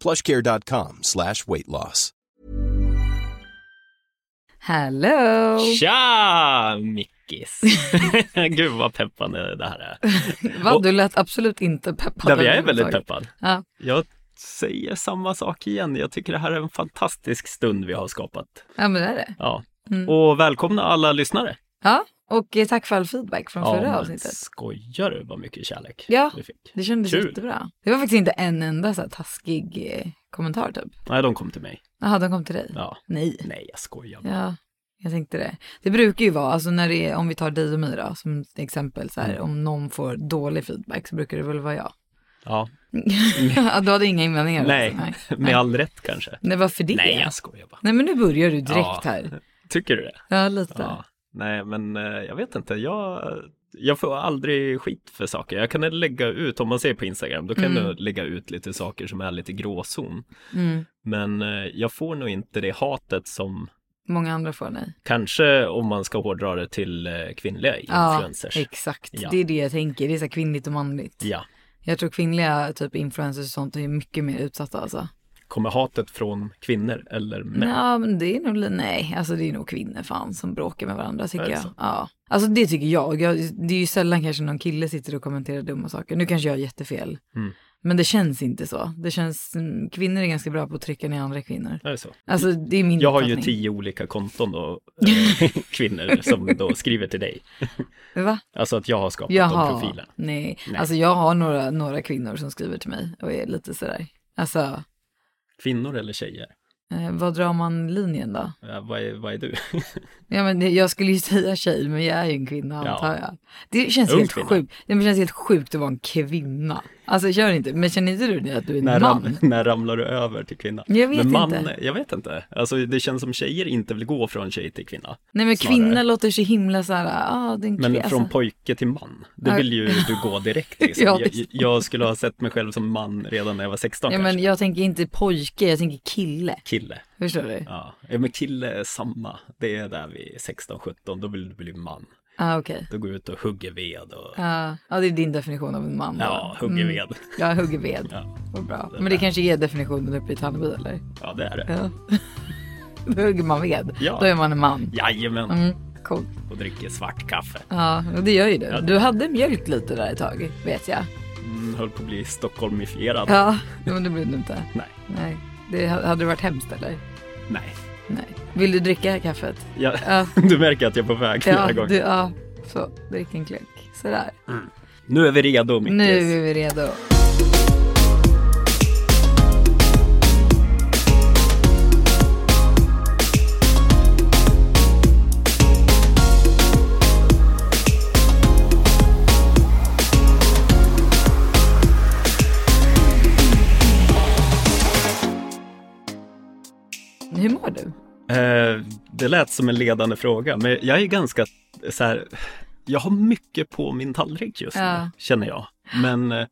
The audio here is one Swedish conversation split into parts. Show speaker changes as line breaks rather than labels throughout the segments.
plushcare.com slash weight loss.
Hello!
Tja, Mickis! Gud vad peppande det här är.
Va,
Och-
du lät absolut inte peppad.
Nej, men jag är väldigt
överhuvudtaget.
peppad.
Ja.
Jag säger samma sak igen. Jag tycker det här är en fantastisk stund vi har skapat.
ja, men det är det.
Ja.
Mm.
Och välkomna alla lyssnare.
Ja, och eh, tack för all feedback från
Ja,
förra
men
avsnittet.
Skojar du vad mycket kärlek
Ja,
vi fick?
det kändes
Kul.
jättebra. Det var faktiskt inte en enda så här taskig eh, kommentar typ.
Nej, de kom till mig.
Jaha, de kom till dig?
Ja.
Nej.
Nej, jag skojar. bara.
Ja, jag tänkte det. Det brukar ju vara, alltså när det är, om vi tar dig och mig då, som exempel, så
Mm.
här, om någon får dålig feedback så brukar det väl vara jag.
Ja.
Ja, du hade inga invändningar?
Mm. Nej,
Alltså.
med all rätt kanske.
Nej, varför det?
Nej, jag skojar bara.
Nej, men nu börjar du direkt
Ja.
här.
Tycker du det?
Ja, lite.
Ja. Nej, men eh, jag vet inte. Jag, jag får aldrig skit för saker. Jag kan lägga ut, om man ser på Instagram, då kan jag lägga ut lite saker som är lite gråzon.
Mm.
Men eh, jag får nog inte det hatet som
Många andra får nej.
kanske, om man ska hårdra det till eh, kvinnliga influencers.
Ja, exakt.
Ja.
Det är det jag tänker. Det är så här kvinnligt och manligt.
Ja,
Jag tror kvinnliga typ influencers och sånt är mycket mer utsatta alltså.
kommer hatet från kvinnor eller män?
Ja, men det är nog, li- nej, alltså det är nog kvinnor fan som bråkar med varandra tycker
Är det
jag.
så?
Ja. Alltså det tycker jag. jag. Det är ju sällan kanske någon kille sitter och kommenterar dumma saker. Nu kanske jag har jättefel.
Mm.
Men det känns inte så. Det känns, mm, kvinnor är ganska bra på att trycka ner andra kvinnor.
Är det så?
Alltså det är min
Jag har ju
uppfattning.
tio olika konton då, eh, kvinnor som då skriver till dig.
Va?
Alltså att jag har skapat de
Jaha,
profilerna.
nej.
Nej.
Alltså jag har några, några kvinnor som skriver till mig och är lite sådär. Alltså,
Kvinnor eller tjejer?
eh, vad drar man linjen då?
Eh, vad, är, vad är du?
Ja, men det- jag skulle ju säga tjej, men jag är ju en kvinna
Ja.
antar jag. Det känns,
Ung
helt
kvinna.
sjukt. Det känns helt sjukt att vara en kvinna. Alltså kör inte, men känner inte du det att du är en
När,
man?
ram, när ramlar du över till kvinna?
Jag vet
Men man,
inte.
Jag vet inte. Alltså det känns som tjejer inte vill gå från tjej till kvinna.
Nej men
snarare.
kvinna låter så himla så här, ah, det är en
Men
kvinna.
från pojke till man, det
Ja.
vill ju du gå direkt liksom.
Ja, det är
jag, jag skulle ha sett mig själv som man redan när jag var 16
ja,
kanske.
men jag tänker inte pojke, jag tänker kille.
Kille.
Förstår du? Ja,
Ja. ja, men kille är samma. Det är där vid 16-17, då vill du bli man.
ah, okej.
Då går du ut och hugger ved och
Ja, Mm. ah, det är din definition av en man. då.
ja, hugger ved.
Ja, hugger ved.
Ja.
Vad bra. Men det kanske är definitionen uppe i Tallby eller?
ja, det är det.
Ja. Då hugger man ved.
Ja.
Då är man en man.
Jajamän,
Mm, coolt.
och dricker svart kaffe.
Ja, och det gör ju du. Du hade mjölk lite där ett tag, vet jag.
Mm, höll på att bli stockholmifierad.
Ja, men det blev du inte.
Nej,
Nej. Det, hade det varit hemskt eller?
nej.
Nej. Vill du dricka kaffet?
Jag,
Ja.
Du märker att jag är på väg flera gånger.
du, ja. Så, drick en klunk. Sådär.
Nu är vi redo Mickis.
Nu är vi redo. Hur mår du?
Eh, det lät som en ledande fråga, men jag är ganska så här, jag har mycket på min tallrik just nu,
Ja.
känner jag. Men eh,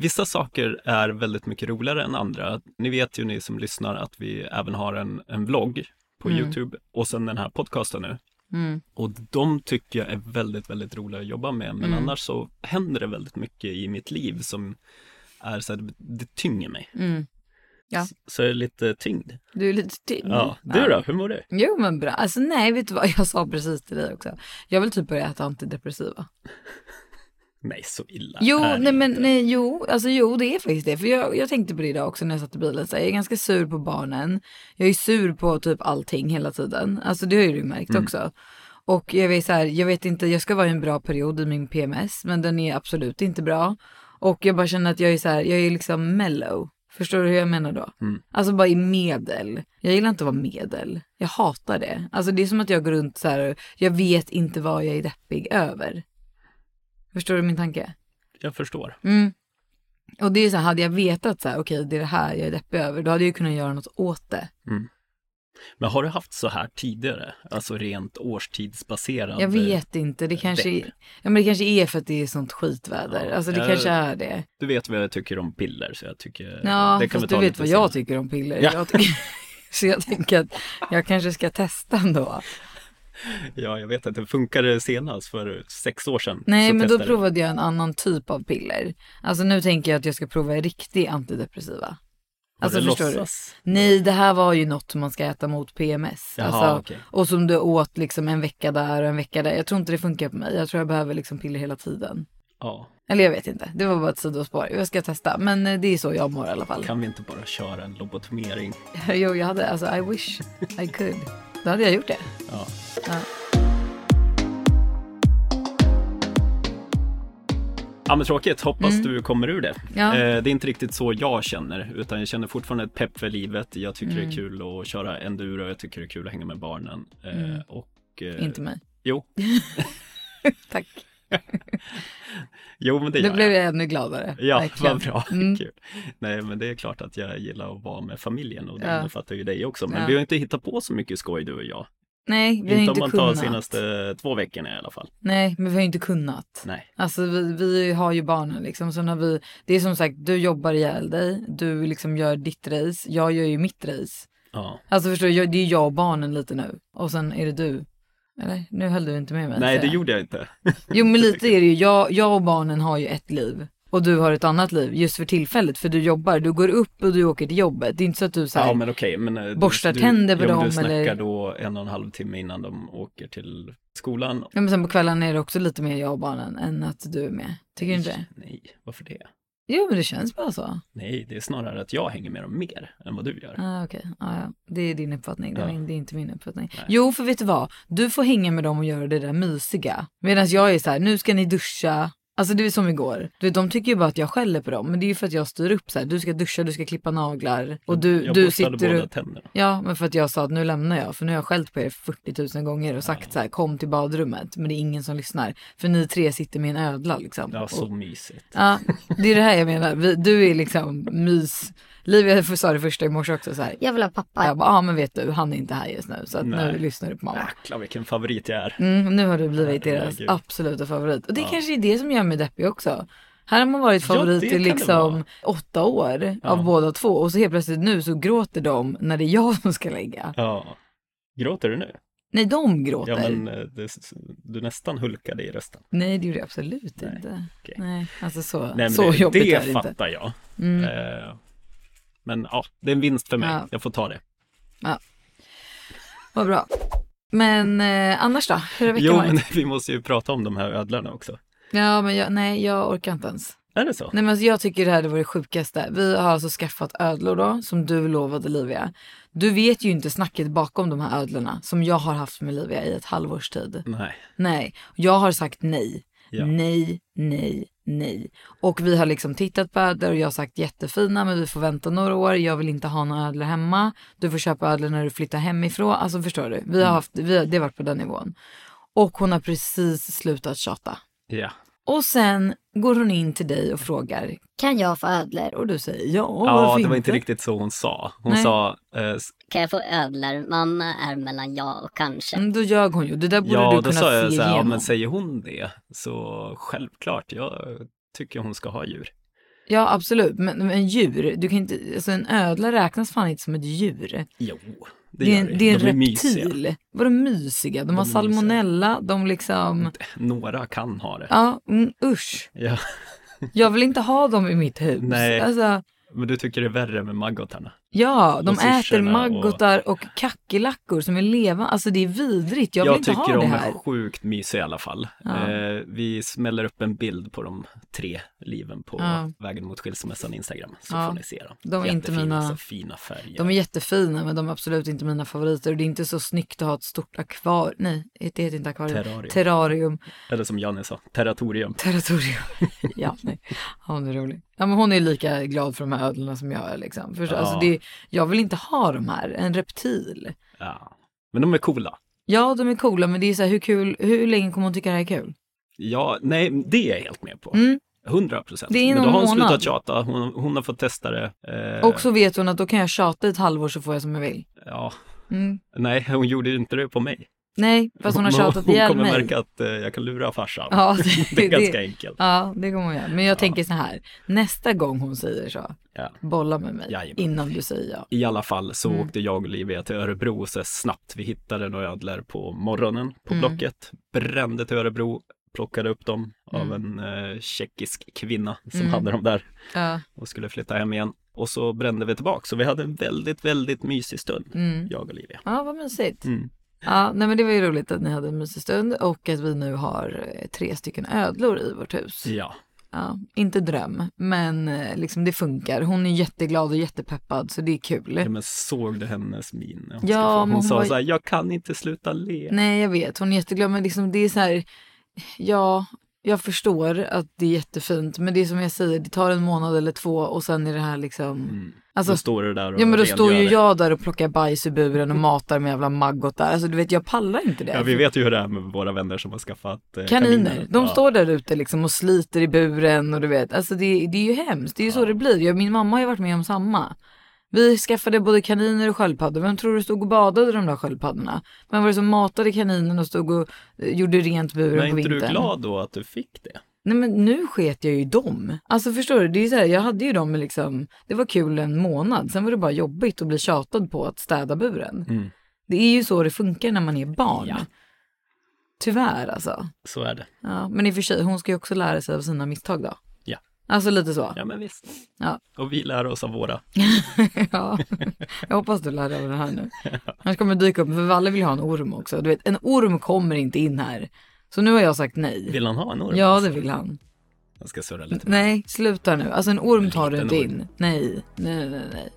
Vissa saker är väldigt mycket roligare än andra. Ni vet ju ni som lyssnar att vi även har en, en vlogg på
Mm.
Youtube och sen den här podcasten nu.
Mm.
Och de tycker jag är väldigt, väldigt roliga att jobba med. Men
Mm.
annars så händer det väldigt mycket i mitt liv som är så här, det tynger mig.
Mm. Ja. Mm.
S- Så jag är lite tyngd.
Du är lite tyngd.
Ja, du då? Hur mår du?
Jo men bra. Alltså nej, vet du vad? Jag sa precis till dig också. Jag vill typ börja äta antidepressiva.
Nej, så illa
Jo,
är det
nej men
inte.
nej, jo, alltså jo det är faktiskt det. För jag, jag tänkte på det idag också när jag satt i bilen. Så här, jag är ganska sur på barnen. Jag är sur på typ allting hela tiden. Alltså det har ju du märkt också. Och jag vet så här, jag vet inte, jag ska vara i en bra period i min PMS. Men den är absolut inte bra. Och jag bara känner att jag är så här, jag är liksom mellow. Förstår du hur jag menar då? Alltså bara i medel. Jag gillar inte att vara medel. Jag hatar det. Alltså det är som att jag går runt så här, jag vet inte vad jag är deppig över. Förstår du min tanke?
Jag förstår.
Mm. Och det är så här, hade jag vetat så här, okej det är det här jag är deppig över, då hade jag ju kunnat göra något åt det.
Men har du haft så här tidigare? Alltså rent årstidsbaserad?
jag vet inte, det kanske,
depp.
ja, men det kanske är för att det är sånt skitväder.
Ja,
alltså det
jag-
kanske är det.
Du vet vad jag tycker om piller, så jag tycker...
Ja,
det kan vi
fast
ta
du vet
lite
vad jag
sen.
tycker om piller.
Ja.
Jag tycker, så jag tänker att jag kanske ska testa ändå.
Ja, jag vet att det funkade senast för sex år sedan.
Nej,
så
men då
testade jag.
provade jag en annan typ av piller. Alltså nu tänker jag att jag ska prova riktig antidepressiva. Alltså
det
förstår
låtsas?
du? Nej, det här var ju något man ska äta mot PMS.
Jaha,
alltså,
okej.
Och som du åt liksom en vecka där och en vecka där. Jag tror inte det funkar på mig. Jag tror jag behöver liksom piller hela tiden.
Ja,
Eller jag vet inte. Det var bara ett sidospår. Jag ska testa. Men eh, det är så jag mår i alla fall.
kan vi inte bara köra en lobotomering?
Jo, jag hade alltså I wish I could. Då hade jag gjort det.
Ja.
Ja.
Ja men tråkigt, hoppas du kommer ur det.
Mm. Ja.
Eh, det är inte riktigt så jag känner, utan jag känner fortfarande ett pepp för livet. Jag tycker
Mm.
det är kul att köra enduro, jag tycker det är kul att hänga med barnen. Eh, och, eh,
Mm. Inte mig.
Jo,
Tack.
jo men det
Då
gör
blev
jag.
jag ännu gladare.
Ja,
Verkligen.
vad bra.
Mm.
Kul. Nej, men det är klart att jag gillar att vara med familjen och det
Ja.
innefattar ju dig också. Men
Ja.
vi har inte hittat på så mycket skoj du och jag.
Nej, vi har
inte
inte,
om man
kunnat.
tar senaste två veckorna i alla fall.
Nej, men vi har ju inte kunnat.
Nej.
Alltså vi, vi har ju barnen liksom. Sen har vi, det är som sagt, du jobbar ihjäl dig. Du liksom gör ditt race. Jag gör ju mitt race.
Ja.
Alltså förstår du, jag- det är jag och barnen lite nu. Och sen är det du. Eller? Nu höll du inte med mig.
Nej,
ser
det
jag.
gjorde jag inte.
Jo men lite är det ju, jag, jag och barnen har ju ett liv och du har ett annat liv just för tillfället för du jobbar, du går upp och du åker till jobbet. Det är inte så att du så här,
Ja, men okej. Men, eh,
Borstar tänder på
jo, men
dem
Du snackar
eller-
då en och en halv timme innan de åker till skolan.
Ja, men sen på kvällen är det också lite mer jag och barnen än att du är med. Tycker du inte det?
Nej, varför det?
Jo men det känns bara så.
Nej, det är snarare att jag hänger med dem mer än vad du gör.
Ah, okej, ah, ja. Det är din uppfattning, det, är
Ja.
min- det är inte min uppfattning. Jo för vet du vad, du får hänga med dem och göra det där mysiga. Medan jag är så här, nu ska ni duscha. Alltså det är som igår, du vet, de tycker ju bara att jag skäller på dem men det är ju för att jag styr upp så här, du ska duscha, du ska klippa naglar och du,
jag
du
borstade
sitter
båda
och...
tänderna.
Ja, men för att jag sa att nu lämnar jag, för nu har jag skällt på er 40 000 gånger och sagt så här, kom till badrummet, men det är ingen som lyssnar. För ni tre sitter med en ödla liksom.
Ja, så
Och,
mysigt.
ja det är det här jag menar, Vi, du är liksom mys. Liv, jag sa det första i morse också så här, jag vill ha pappa. Jag bara, ja men vet du, han är inte här just nu, så att nu
Nej.
lyssnar du på mamma.
Jäklar vilken favorit jag är.
Mm, nu har du blivit deras
Herregud.
absoluta favorit. Och det kanske är det som gör mig deppig också. Här har man varit favorit
det
i
kan det
liksom
vara.
åtta år av båda två och så helt plötsligt nu så gråter de när det är jag som ska lägga.
Ja. Gråter du nu?
Nej, de gråter.
Ja, men eh, det, du nästan hulkade i rösten.
Nej, det gjorde jag absolut
Nej,
inte.
okej.
Nej, alltså så,
Nej, men
så
det,
jobbigt
det
är det inte. Mm.
fattar jag. Eh, men ja, det är en vinst för mig.
Ja.
Jag får ta det.
Vad bra. Men eh, annars då? Hur har veckan
Jo,
varit?
men vi måste ju prata om de här ödlarna också.
Ja, men jag, nej, jag orkar inte ens.
Är det så?
Nej men alltså jag tycker det här det var det sjukaste. Vi har alltså skaffat ödlor då, som du lovade Livia. Du vet ju inte snacket bakom de här ödlorna som jag har haft med Livia i ett halvårs tid.
Nej.
Nej, jag har sagt nej.
Ja.
Nej, nej, nej. Och vi har liksom tittat på ödlor och jag har sagt jättefina men vi får vänta några år. Jag vill inte ha några ödlor hemma. Du får köpa ödlor när du flyttar hemifrån. Alltså förstår du? Vi har haft, vi har, det har varit på den nivån. Och hon har precis slutat tjata.
Ja.
Och sen går hon in till dig och frågar, kan jag få
er-
ödlor? Och du säger ja,
Ja,
varför
det var inte riktigt så hon sa. Hon
Nej.
sa, eh, s-
Kan jag få ödlor? Mamma är mellan ja och kanske.
Mm, Då ljög hon ju, det där borde
ja,
du
då
kunna
sa jag
se
så här, ja,
igenom.
men säger hon det så självklart, jag tycker hon ska ha djur.
Ja absolut, men, men djur, du kan inte, alltså en ödla räknas fan inte som ett djur.
Jo, det,
Det, är
gör
en,
vi.
det är en
De är mysiga.
reptil. Vadå mysiga? De, har
mysiga.
salmonella, de liksom,
Några kan ha det.
ja mm, usch.
Ja.
Jag vill inte ha dem i mitt hus.
Nej.
Alltså,
Men du tycker det är värre med maggotarna?
ja, de
Och
äter
syrsorna och-
maggotar och kackerlackor som är levande. Alltså det är vidrigt, jag vill inte
tycker
ha det
de
här.
är sjukt mysiga i alla fall.
Ja.
Eh, vi smäller upp en bild på de tre liven på
Ja.
vägen mot skilsmässan Instagram. Så
Ja.
får ni se dem.
De är inte
Jättefina,
mina-
så fina färger.
De är jättefina men de är absolut inte mina favoriter och det är inte så snyggt att ha ett stort akvarium, nej det heter inte akvarium,
Terrarium.
terrarium,
Eller som Janne sa, terratorium.
territorium. ja, nej. Ja, hon är rolig. Ja, men hon är lika glad för de här ödlorna som jag är liksom. Förstår?
Ja.
Alltså, det är, jag vill inte ha de här, en reptil.
Ja. Men de är coola.
Ja, de är coola men det är så här, hur kul, hur länge kommer hon tycka det här är kul?
Ja, nej, det är jag helt med på.
Mm.
100 procent.
Det är
Men då
någon
har hon
månad.
slutat tjata. Hon, hon har fått testa det. Eh,
Och så vet hon att då kan jag tjata i ett halvår så får jag som jag vill.
Ja.
Mm.
Nej, hon gjorde ju inte det på mig.
Nej, fast hon har tjatat ihjäl
Hon
mig.
kommer märka att eh, jag kan lura farsan.
Ja, det,
det är ganska
det-
enkelt.
Ja, det kommer hon göra. Men jag tänker så här, nästa gång hon säger så,
Ja.
bolla med mig
Jajamän.
innan du säger ja.
I alla fall så
Mm.
åkte jag och Livia till Örebro så snabbt vi hittade några ödlor på morgonen på
Mm.
Blocket. Brände till Örebro, plockade upp dem av
Mm.
en eh, tjeckisk kvinna som hade dem där
Ja,
och skulle flytta hem igen. Och så brände vi tillbaka, så vi hade en väldigt, väldigt mysig stund, jag och Livia.
Mm. ja vad mysigt.
Mm.
Ja, nej men det var ju roligt att ni hade en mysig stund och att vi nu har eh, tre stycken ödlor i vårt hus.
Ja,
Ja, inte dröm, men eh, liksom det funkar. Hon är jätteglad och jättepeppad så det är
ja,
kul.
men såg du hennes min? när Hon,
Eh. Ja,
ja, hon,
men hon
hon sa
var-
så här, jag kan inte sluta le.
Nej, jag vet, hon är jätteglad men liksom det är så här, ja, jag förstår att det är jättefint men det är som jag säger, det tar en månad eller två och sen är det här liksom, alltså
Mm. Då står du där och
Ja men då står ju
rengör det.
jag där och plockar bajs ur buren och matar med jävla maggot där. Alltså du vet jag pallar inte det.
Ja, vi vet ju hur det är med våra vänner som har skaffat eh,
Kaniner, de
Ja.
står där ute liksom och sliter i buren och du vet. Alltså det, det är ju hemskt, det är ju så det blir. Jag, min mamma har ju varit med om samma. Vi skaffade både kaniner och sköldpaddor. Vem tror du stod och badade i de där sköldpaddorna? Vem var det som matade kaninen och stod och eh, gjorde rent buren
Men är
på
inte
vintern?
du glad då att du fick det?
Nej men nu sket jag ju i dem. Alltså förstår du, det är ju så här, jag hade ju dem i liksom, det var kul en månad, sen var det bara jobbigt att bli tjatad på att städa buren.
Mm.
Det är ju så det funkar när man är barn.
Ja.
Tyvärr alltså.
Så är det.
Ja, men i och för sig, hon ska ju också lära sig av sina misstag då.
Ja.
Alltså lite så.
Ja, men visst.
Ja.
Och vi lär oss av våra.
Ja. Jag hoppas du lär dig av det här nu. Annars kommer det dyka upp, för Valle vill ha en orm också. Du vet, en orm kommer inte in här. Så nu har jag sagt nej.
Vill han ha en orm?
Ja, det vill han.
Jag ska surra lite.
Nej, sluta nu. Alltså en orm tar du
Liten
inte
orm.
in. Nej, nej, nej, nej, nej.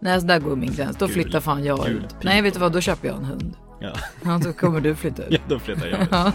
Nej, alltså där går min gräns. Då
Gul-
flyttar fan jag
gul
ut.
pipa.
Nej, vet du vad? Då köper jag en hund.
Ja.
Ja, då kommer du flytta ut.
ja, då flyttar jag. ut.
Ja.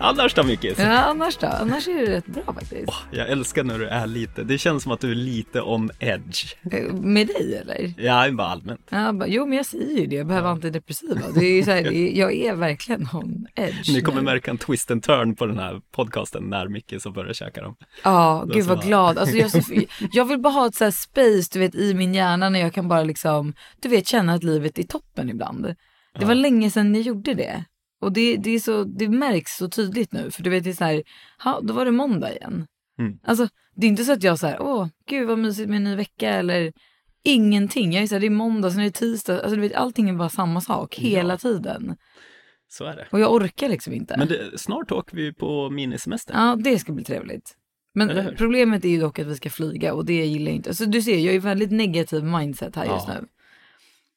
Annars då, Mikis?
Ja, annars då? Annars är det rätt bra faktiskt.
Jag älskar när du är lite, det känns som att du är lite om edge.
Eh, Med dig eller?
Ja, bara allmänt.
Ja, bara, jo, men jag säger ju det. Jag behöver antidepressiva. Det är ju så här, det är, jag är verkligen on edge.
Ni kommer
nu.
märka en twist and turn på den här podcasten när Mikis har börjat käka dem.
Ja, gud
som
vad
bara-
glad. Alltså, jag, är så- jag vill bara ha ett så här space du vet, i min hjärna när jag kan bara liksom, du vet, känna att livet är toppen ibland. Det var länge sedan ni gjorde det. Och det, det, är så, det märks så tydligt nu, för du vet, det är så här, ha, då var det måndag igen.
Mm.
Alltså, det är inte så att jag så här, åh, gud vad mysigt med en ny vecka eller ingenting. Jag är så här, det är måndag, sen är det tisdag. Alltså, du vet, allting är bara samma sak hela tiden.
Så är det.
Och jag orkar liksom inte.
Men det, snart åker vi ju på minisemester.
Ja, det ska bli trevligt.
Eller
Men
hur?
problemet är ju dock att vi ska flyga och det gillar jag inte. Så du ser, jag är i väldigt negativ mindset här just
Ja.
nu.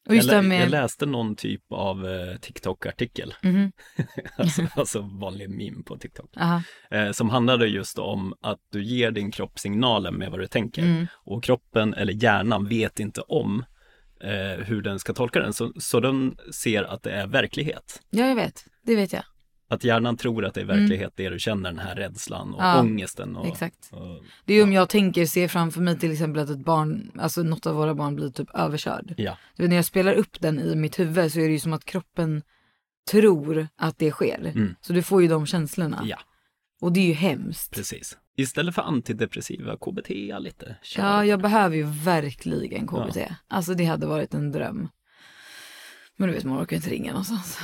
Och just det här
jag, lä- jag
med...
läste någon typ av eh, TikTok-artikel,
Mhm.
alltså, alltså vanlig meme på TikTok.
Aha.
eh, som handlade just om att du ger din kropp signalen med vad du tänker
Mm.
och kroppen eller hjärnan vet inte om eh, hur den ska tolka den, så, så den ser att det är verklighet.
Ja, jag vet. Det vet jag.
Att hjärnan tror att det är verklighet, det du känner, den här rädslan och
Mm. Ja,
ångesten. Och,
exakt.
Och,
Det är ju om jag tänker, ser framför mig till exempel att ett barn, alltså något av våra barn blir typ överkörd.
ja,
Du vet, när jag spelar upp den i mitt huvud så är det ju som att kroppen tror att det sker. Så du får ju de känslorna.
Mm. ja,
Och det är ju hemskt.
precis. Istället för antidepressiva, KBT lite. Kör.
Ja, jag behöver ju verkligen KBT. Alltså det hade varit en dröm. Men du vet, man orkar inte ringa någonstans.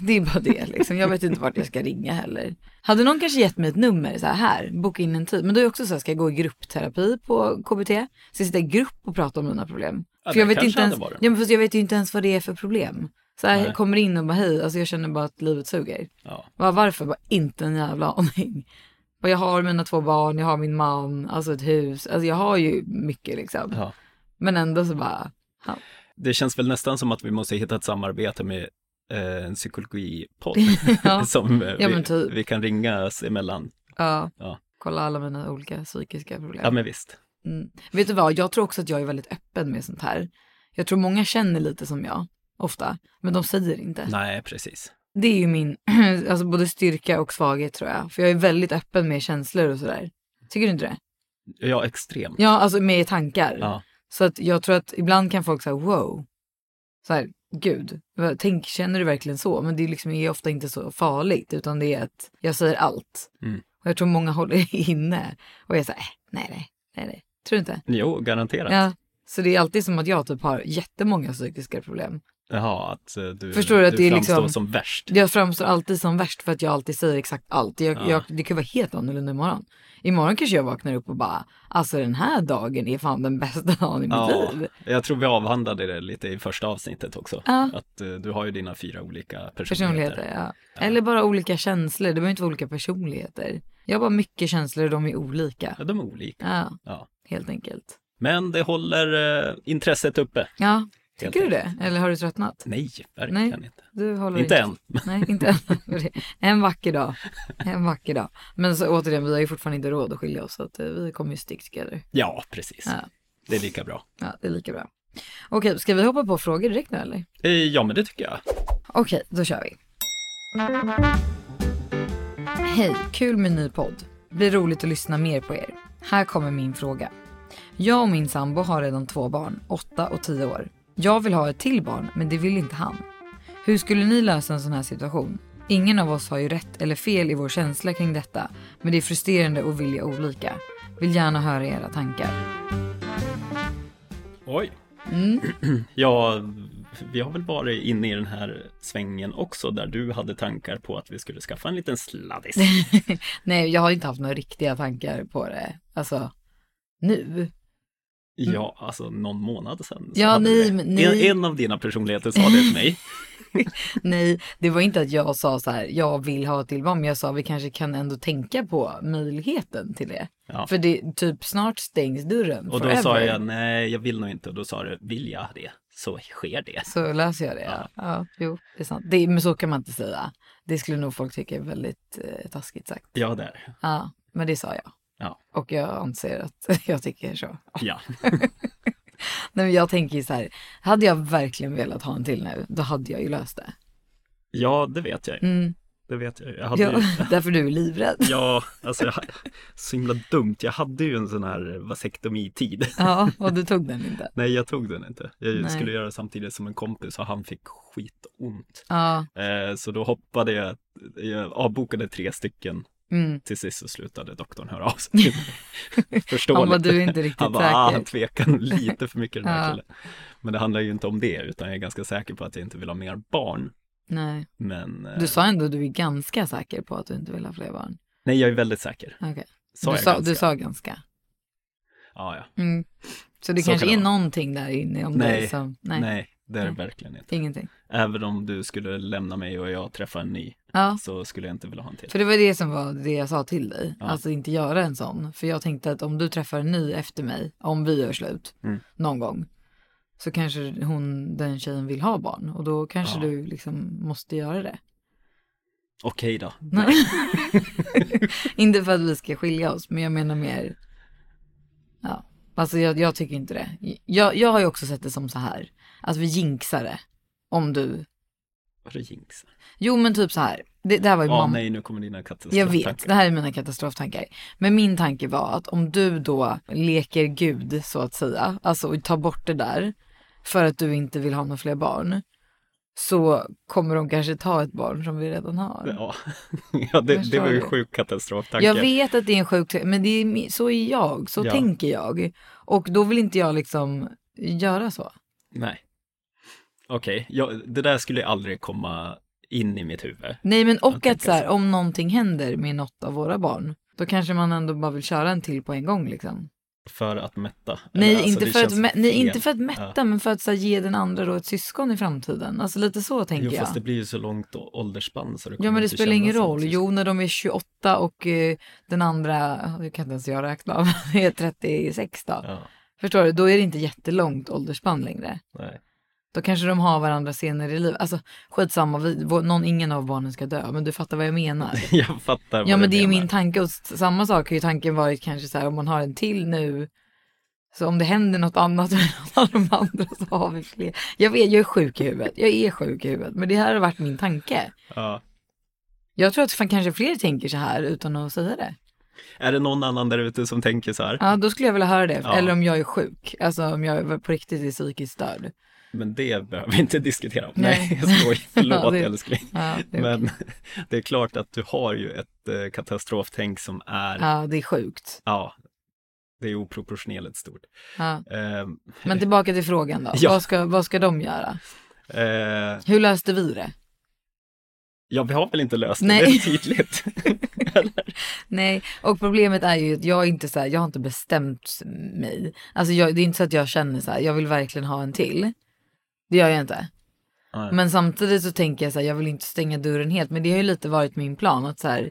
Det är bara det liksom. Jag vet inte vart jag ska ringa heller. Hade någon kanske gett mig ett nummer så här, här boka in en tid. Men då är jag också så här, ska jag gå i gruppterapi på KBT? Ska jag sitta i grupp och prata om mina problem?
Ja,
för jag
det
vet,
kanske
inte ens,
hade varit.
ja, men fast jag vet ju inte ens vad det är för problem. Så här,
Nej.
kommer in och bara hej, alltså jag känner bara att livet suger.
Ja.
Bara, varför? Bara, inte en jävla aning. Och jag har mina två barn, jag har min man, alltså ett hus, alltså jag har ju mycket liksom.
Ja.
Men ändå så bara,
Det känns väl nästan som att vi måste hitta ett samarbete med eh, en psykologipodd
Ja.
som eh,
Ja,
vi,
men typ.
vi kan ringas emellan.
ja,
Ja.
kolla alla mina olika psykiska problem.
Ja, men visst.
Mm. Vet du vad, jag tror också att jag är väldigt öppen med sånt här. Jag tror många känner lite som jag, ofta, men de säger inte.
Nej, precis.
Det är ju min, alltså både styrka och svaghet tror jag. För jag är väldigt öppen med känslor och sådär. Tycker du inte det?
Ja, extremt.
Ja, alltså med tankar.
Ja.
Så att jag tror att ibland kan folk säga wow. Så här, gud, vad- tänk, känner du verkligen så? Men det liksom är ofta inte så farligt utan det är att jag säger allt.
Mm.
Och jag tror många håller inne och är så här, "Äh, nej, nej, nej, nej. Tror du inte?
Jo, garanterat.
Ja. Så det är alltid som att jag typ har jättemånga psykiska problem.
Jaha, att eh, du,
Förstår du att
du
det är
framstår
liksom-
som värst.
Jag framstår alltid som värst för att jag alltid säger exakt allt. Jag,
Typ. Ja.
jag, det kan vara helt annorlunda imorgon. Imorgon kanske jag vaknar upp och bara, alltså den här dagen är fan den bästa dagen i mitt
Ja,
liv.
jag tror vi avhandlade det lite i första avsnittet också.
Ja.
Att eh, du har ju dina fyra olika personligheter.
Personligheter, ja. Eller bara olika känslor, det behöver inte vara olika personligheter. Jag har bara mycket känslor och de är olika.
Ja, de är olika.
Ja,
Ja.
helt enkelt.
Men det håller eh, intresset uppe.
Ja, tycker du det?
enkelt.
Eller har du tröttnat?
Nej, verkligen
Nej.
inte.
Du håller
Inte än.
Nej, inte än. En vacker dag. En vacker dag. Men så, återigen, vi har ju fortfarande inte råd att skilja oss, så att, eh, vi kommer ju stick together.
Ja, precis.
Ja.
Det är lika bra.
Ja, det är lika bra. Okej, ska vi hoppa på frågor direkt nu eller?
Eh, Ja, men det tycker jag.
Okej, då kör vi. Hej, kul med ny podd. Blir roligt att lyssna mer på er. Här kommer min fråga. Jag och min sambo har redan två barn, 8 och 10 år. Jag vill ha ett till barn, men det vill inte han. Hur skulle ni lösa en sån här situation? Ingen av oss har ju rätt eller fel i vår känsla kring detta, men det är frustrerande och vilja olika. Vill gärna höra era tankar.
Oj.
Mm.
ja, vi har väl varit inne i den här svängen också där du hade tankar på att vi skulle skaffa en liten sladdis.
Mm. Nej, jag har inte haft några riktiga tankar på det. Alltså, nu.
Ja, alltså någon månad sedan. så
Ja,
hade du
nej,
det.
men nej.
En, en av dina personligheter sa det till mig.
Nej, det var inte att jag sa så här, jag vill ha ett till barn, men jag sa vi kanske kan ändå tänka på möjligheten till det.
Ja.
För det typ snart stängs dörren
Och då
forever.
sa jag nej, jag vill nog inte. Och då sa du, vill jag det så sker det.
Så löser jag det. Ja, ja jo, det är sant. Det, men så kan man inte säga. Det skulle nog folk tycka är väldigt eh, taskigt sagt.
Ja, där.
Ja, men det sa jag.
Ja.
Och jag anser att jag tycker så.
Ja,
Nej, men jag tänker ju så här, hade jag verkligen velat ha en till nu, då hade jag ju löst det.
ja det vet jag. ju.
Mm.
Det vet jag. ju. Jag hade
Ja,
ju...
därför du är livrädd.
Ja, alltså jag, så himla dumt. Jag hade ju en sån här vasektomitid.
Ja, och du tog den inte.
Nej, jag tog den inte. Jag
Nej.
skulle göra det samtidigt som en kompis och han fick skitont.
Ja,
Eh, så då hoppade jag, jag avbokade tre stycken.
mm.
Till sist så slutade doktorn höra av sig till mig. Förståeligt.
Han bara, du är inte riktigt
Han bara, ah,
säker.
han tvekar nog lite för mycket den här
Ja.
killen. Men det handlar ju inte om det, utan jag är ganska säker på att jag inte vill ha mer barn.
Nej.
Men eh,
Du sa ändå att du är ganska säker på att du inte vill ha fler barn.
nej, jag är väldigt säker.
Okej.
Sa
du,
jag
sa,
ganska?
du sa ganska.
Ja, ja.
Mm. Så det
Så
kanske
kan det
är
vara.
någonting där inne om dig
Nej,
som...
nej,
liksom- Nej,
det är det
Nej.
verkligen inte.
Ingenting.
Även om du skulle lämna mig och jag träffar en ny
Ja,
så skulle jag inte vilja ha en till.
för det var det som var det jag sa till dig.
Ja.
Alltså inte göra en sån. För jag tänkte att om du träffar en ny efter mig, om vi gör slut
Mm.
någon gång, så kanske hon, den tjejen vill ha barn. Och då kanske
Ja.
du liksom måste göra det.
Okej då.
Nej. inte för att vi ska skilja oss, men jag menar mer... Ja, alltså jag, jag tycker inte det. Jag, jag har ju också sett det som så här, att vi jinxar det. Om du...
Vadå jinxa?
Jo, men typ så här. Det, det här var ju
Ja,
mamma.
nej, nu kommer dina katastrofer.
Jag vet, det här är mina katastroftankar. Men min tanke var att om du då leker gud så att säga, alltså och tar bort det där för att du inte vill ha några fler barn, så kommer de kanske ta ett barn som vi redan har.
Ja, ja det, det
Förstår
var ju
du?
en sjuk katastroftanke.
Jag vet att det är en sjuk men det är, mi- så är jag, så
Ja.
tänker jag. Och då vill inte jag liksom göra så.
Nej. Okej, ja, det där skulle aldrig komma in i mitt huvud.
Nej men och att
tänker
så här, om någonting händer med något av våra barn, då kanske man ändå bara vill köra en till på en gång liksom.
För att mätta.
Nej,
Eller, alltså,
inte
det
för att,
känns
mä- nej,
fel.
inte för att mätta, men för att så här, ge den andra då ett syskon i framtiden. Alltså lite så tänker
Jo,
jag.
fast det blir ju så långt å- åldersspann så det
Ja
kommer
men det
inte
spelar ingen
kännas
roll.
som-
Jo när de är 28 och eh, den andra, jag kan inte ens jag räkna av, är 36 då.
Ja,
Förstår du? Då är det inte jättelångt åldersspann längre.
nej.
Då kanske de har varandra senare i livet. Alltså skitsamma, vi, vår, någon, ingen av barnen ska dö. Men du fattar vad jag menar.
Jag fattar vad
Ja men det är
du
ju
menar.
min tanke och s- samma sak har ju tanken varit kanske så här om man har en till nu. Så om det händer något annat med någon av de andra så har vi fler. Jag vet, jag är sjuk i huvudet. Jag är sjuk i huvudet. Men det här har varit min tanke.
Ja.
Jag tror att fan kanske fler tänker så här utan att säga det.
Är det någon annan där ute som tänker så här?
Ja, då skulle jag vilja höra det.
Ja.
Eller om jag är sjuk. Alltså om jag på riktigt är psykiskt störd. Men
Men det behöver vi inte diskutera om.
Nej.
Nej, jag skojar.
Ja,
Förlåt
det-
älskling.
Ja, det är
Men det är klart att du har ju ett eh, katastroftänk som är, ja.
Ja, det är sjukt.
det är oproportionerligt stort.
Ja.
Ehm,
Men tillbaka till frågan då.
Ja.
Vad, ska, vad ska de göra?
eh,
Hur löste vi det?
ja, vi har väl inte löst det,
Nej.
det är tydligt. Eller?
Nej, och problemet är ju att jag är inte så här, jag har inte bestämt mig. Alltså jag, det är inte så att jag känner så här, jag vill verkligen ha en till. Det gör jag inte.
Nej.
Men samtidigt så tänker jag så här, jag vill inte stänga dörren helt. Men det har ju lite varit min plan att så här,